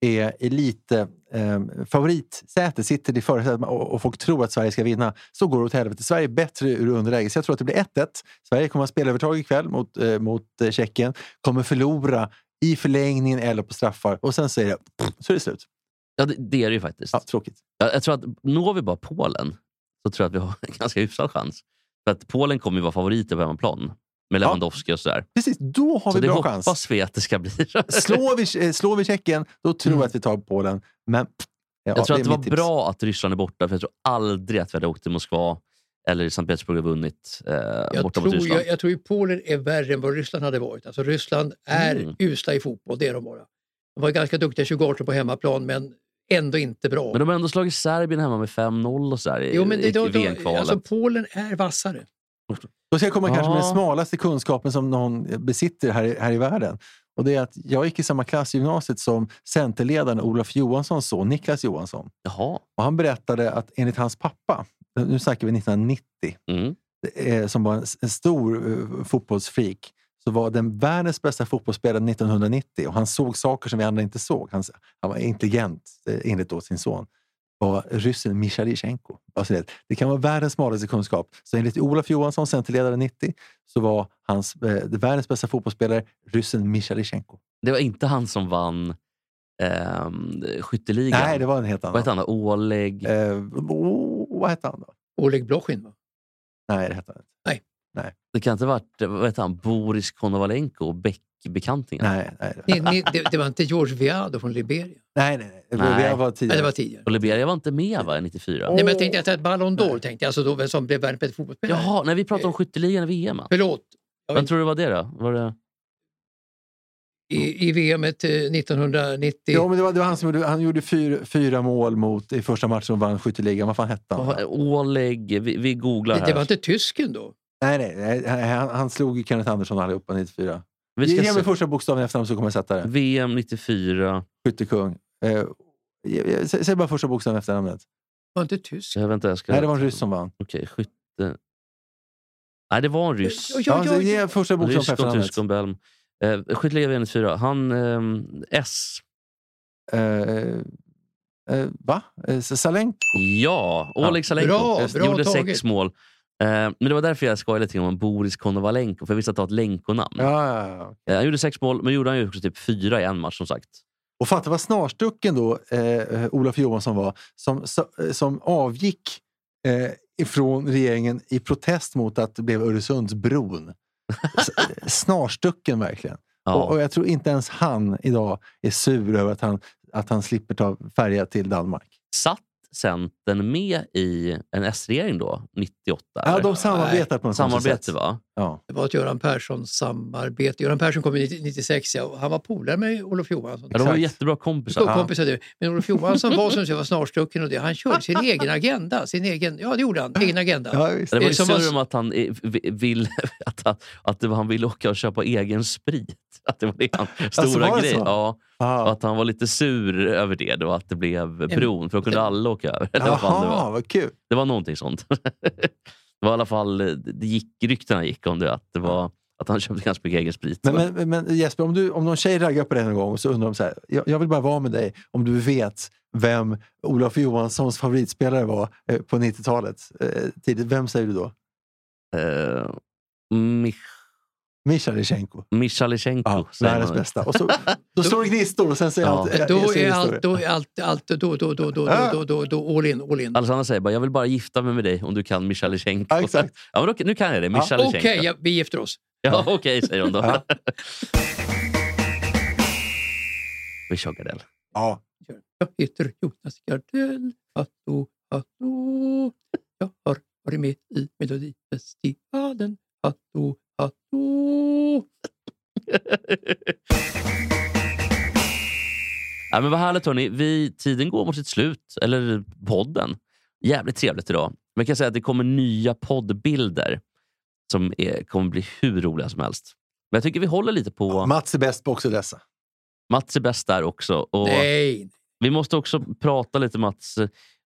är elite eh, favoritsäte, sitter i förarsätet och, och folk tror att Sverige ska vinna, så går det åt helvete. Sverige är bättre ur underläge, så jag tror att det blir 1-1. Sverige kommer att ha spelövertag ikväll mot, eh, mot eh, Tjeckien, kommer förlora i förlängningen eller på straffar och sen så är det, så är det slut. Ja, det, det är det ju faktiskt. Ja, tråkigt. Jag, jag tror att når vi bara Polen så tror jag att vi har en ganska hyfsad chans. För att Polen kommer ju vara favoriter på hemmaplan med Lewandowski och sådär. Precis, då har Så vi det bra hoppas chans. vi att det ska bli. Slår vi, eh, slår vi Tjeckien, då tror jag att vi tar Polen. Men pff, ja, Mm. jag tror att är det var mitt tips. bra att Ryssland är borta för jag tror aldrig att vi hade åkt till Moskva eller i Sankt Petersburg och vunnit eh, Jag borta tror, mot Ryssland. jag, jag tror ju Polen är värre än vad Ryssland hade varit. Alltså Ryssland är Mm. usla i fotboll, det är de bara. De var ganska duktiga 2018 på hemmaplan men ändå inte bra. Men de har ändå slagit Serbien hemma med 5-0 och sådär i, jo, men det, i, då, i VM-kvalet. då, alltså Polen är vassare. Då ska jag komma kanske med den Ja. smalaste kunskapen som någon besitter här, i- här i världen. Och det är att jag gick i samma klass i gymnasiet som Centerledaren Olof Johanssons son Niklas Johansson. Jaha. Och han berättade att enligt hans pappa, nu snackar vi 1990, Mm. eh, som var en, s- en stor eh, fotbollsfreak, så var den världens bästa fotbollsspelare 1990 och han såg saker som vi andra inte såg. Han, s- han var intelligent, eh, enligt då sin son. var ryssen Michalichenko. Alltså det, det kan vara världens smalaste kunskap. Så enligt Olof Johansson, Centerledare 90, så var hans, eh, världens bästa fotbollsspelare ryssen Michalichenko. Det var inte han som vann ehm, skytteligan. Nej, det var en helt Vad annan. hette han? då? Oleg? Eh, oh, vad hette han då? Oleg Blochin, va? Nej, det hette han inte. Det kan inte ha varit vad hette han? Boris Konovalenko och Beck-bekantingen? Nej, nej, nej. Ni, ni, det, det var inte George Viado från Liberia? nej, nej. nej. Nej. Jag var Nej, tidigare. det var tidigare. Och Liberia var inte med va, 94? Nej, men jag tänkte att det var Ballon d'Or, tänkte jag, alltså då, vem som blev världens bästa fotbollsspelare. Jaha, när vi pratade om skytteligan i VM. va? Förlåt. Jag Vem vet, tror du var det då? Var det... i, I VM et, eh, 1990... Ja, men det var, det var han som gjorde, han gjorde fyra, fyra mål mot, i första matchen och vann skytteligan. Vad fan hette han? Vad- Oleg, vi, vi googlar det, här. det var inte tysken då? Nej, nej, nej. Han, han slog ju Kenneth Andersson allihopa 94. vi ska Ge mig se. Mm. första bokstaven efter honom så kommer jag sätta det. VM 94. Skyttekung. Eh, jag- jag- sä- Säg bara första bokstaven efter namnet. Det var inte tysk? Jag, vänta, jag ska... Nej, det var en ryss som vann. Okej, skytte... Nej, det var en ryss. Ja, Ja, ja, ja, Ge första bokstaven Rysk efter och namnet. tysk och belm. Eh, Skytteliga VM 94. Han... ehm, S. Eh, eh, va? Eh, Salenk? Ja, Oleg Salenko. Bra, Just det, bra gjorde taget. sex mål. Eh, men det var därför jag skojade lite grann om Boris Konovalenko, för jag visste att det var ett Lenko-namn. Ja, ja, ja. Eh, han gjorde sex mål, men gjorde han ju också typ fyra i en match som sagt. Och fatta vad snarstucken då eh, Olof Johansson var som, så- eh, som avgick eh, ifrån regeringen i protest mot att det blev Öresundsbron. S- eh, snarstucken verkligen. Ja. Och, och jag tror inte ens han idag är sur över att han, att han slipper ta färja till Danmark. Satt Centern med i en S-regering då, 98? Ja, eller? de samarbetar på något konstigt Samarbete sätt. va? Ja. Det var ett Göran Persson-samarbete. Göran Persson kom i 96 ja, och han var polare med Olof Johansson. Ja, de var Exakt. jättebra kompisar. Så kompisar du. Men Olof Johansson var som jag var snarstucken och det. Han körde sin egen agenda. Sin egen, ja, det gjorde han. Egen agenda. Ja, visst. Det var Eh, ju som var- surr om att han eh, vi- vill att, han, att det var, han ville åka och köpa egen sprit. Att det var det hans Alltså, stora var det grej. så? Ja, Fan. och att han var lite sur över det då, att det blev bron. För då kunde alla åka över. Eller vad fan det, Jaha, var. vad kul. det var någonting sånt. det var i alla fall, eh, det gick, ryktena gick om det. Att, det var, att han köpte ganska mycket egen sprit. Men, men, men Jesper, om, du, om någon tjej raggar på dig någon gång och så undrar de så här, jag, jag vill bara vara med dig om du vet vem Olof Johanssons favoritspelare var eh, på 90-talet. Eh, tidigt. Vem säger du då? Eh, Mich- Michalichenko. Michalichenko. Ja, säger världens man. bästa. Och så, då står det gnistor och sen säger Ja. allt. eh, Då är säger historier. allt, då är allt, allt, då, då, då, då, då, då, då, då, all in, all in. Alexandra säger bara, jag vill bara gifta mig med dig om du kan Michalichenko. Ja, exakt. ja, men då, nu kan jag det. Michalichenko. Okej, ja, vi gifter oss. Ja, okej, säger hon då. Ja. Vi kör Gardell. Ja. Jag heter Jonas Gardell. Hallå, hallå. Jag har varit med i Melodifestivalen. Hallå, hallå. Ja, men vad härligt, hörni. Vi, tiden går mot sitt slut, eller podden. Jävligt trevligt idag. Men jag kan säga att det kommer nya poddbilder som är, kommer bli hur roliga som helst. Men jag tycker vi håller lite på... Mats är bäst på också dessa. Mats är bäst där också. Och Nej, vi måste också prata lite, Mats.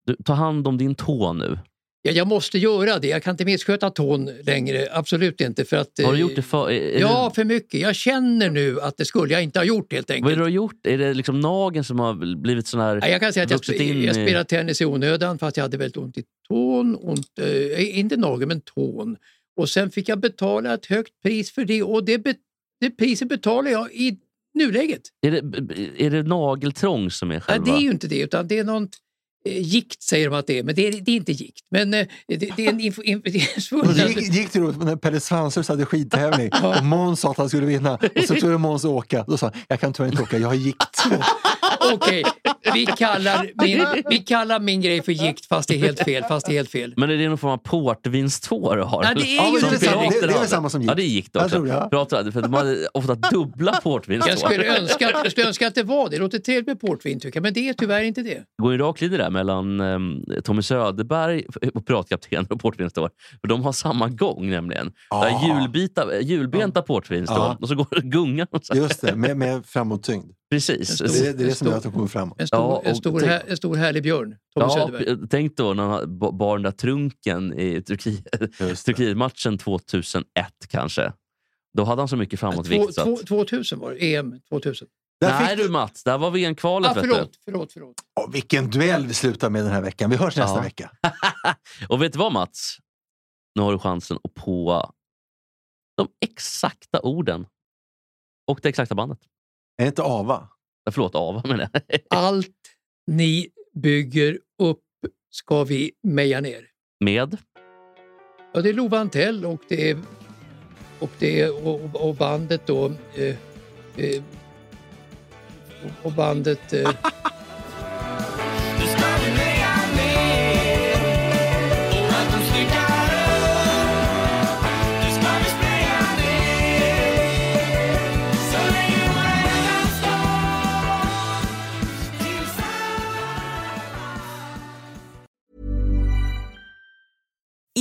Du, ta hand om din tå nu. Ja, jag måste göra det. Jag kan inte missköta tån längre. Absolut inte. För att, Har du eh, gjort det för... Är, är Ja, det, för mycket. Jag känner nu att det skulle jag inte ha gjort helt vad är enkelt. det du har gjort? Är det liksom nageln som har blivit sån här... Ja, Jag kan säga att jag, Vuxit in spe- jag i- spelade tennis i onödan för att jag hade väldigt ont i tån. Ont, eh, inte nageln, men tån. Och sen fick jag betala ett högt pris för det och det, be, det priset betalar jag i nuläget. Är det, b- b- är det nageltrång som är Nej, själva... det är ju inte det, utan det är någon eh, gikt säger de att det är, men det är, det är inte gikt. Men eh, det, det är en info, in, det är en Och det svullnad- gick, gick till roligt när Pelle Svanslös hade skidtävling och Måns sa att han skulle vinna och så skulle Måns åka. Då sa han, jag kan tyvärr inte åka, jag har gikt. Okej, vi, kallar min, vi kallar min grej för gikt fast det är helt fel. Fast det är helt fel. Men är det någon form av portvinstår du har? Nej, det är ju Som inte samma. Det- pirater det är väl hade. samma som gick. Ja, det gick det Jag också. tror det, ja. Pirater hade- för de hade ofta dubbla portvinstår. Jag skulle, önska, jag skulle önska att det var det. Det låter trevligt med portvin tycker jag, men det är tyvärr inte det. Det går ju en rak linje där mellan ehm, Tommy Söderberg, och piratkapten och portvinstår. För de har samma gång nämligen. Ah. Där julbita, julbenta portvinstår Ja. och så går gungan. Och så. Just det, med, med framåttyngd. Precis. En Det, stor- är- det är det som gör att de kommer framåt. En stor, Ja, en och stor, tänk- här, en stor härlig björn, Tommy Ja, Söderberg. p- tänk då när han ba- bar den där trunken i Turkiet- Just det. Turkiet-matchen 2001 kanske. Då hade han så mycket Två, framåtvikt. så två, att... 2000 var det, EM 2000. Där Nej fick du du... Mats, där var VM-kvalet. Ah, vet du. förlåt, förlåt, förlåt. Åh, vilken duell vi slutar med den här veckan. Vi hörs nästa Ja. vecka. Och vet du vad Mats? Nu har du chansen att på de exakta orden och det exakta bandet. Är det inte Ava? Ja, Förlåt, Ava menar jag. Allt ni bygger upp ska vi meja ner. Med Ja, det är Love Antell och det är, och, det är, och, och- och bandet då... Eh, eh, och- och bandet... Eh, Du ska bli mer med och att de snyggar upp. Du ska bli spraya ner så länge våra hjärtan står tillsammans.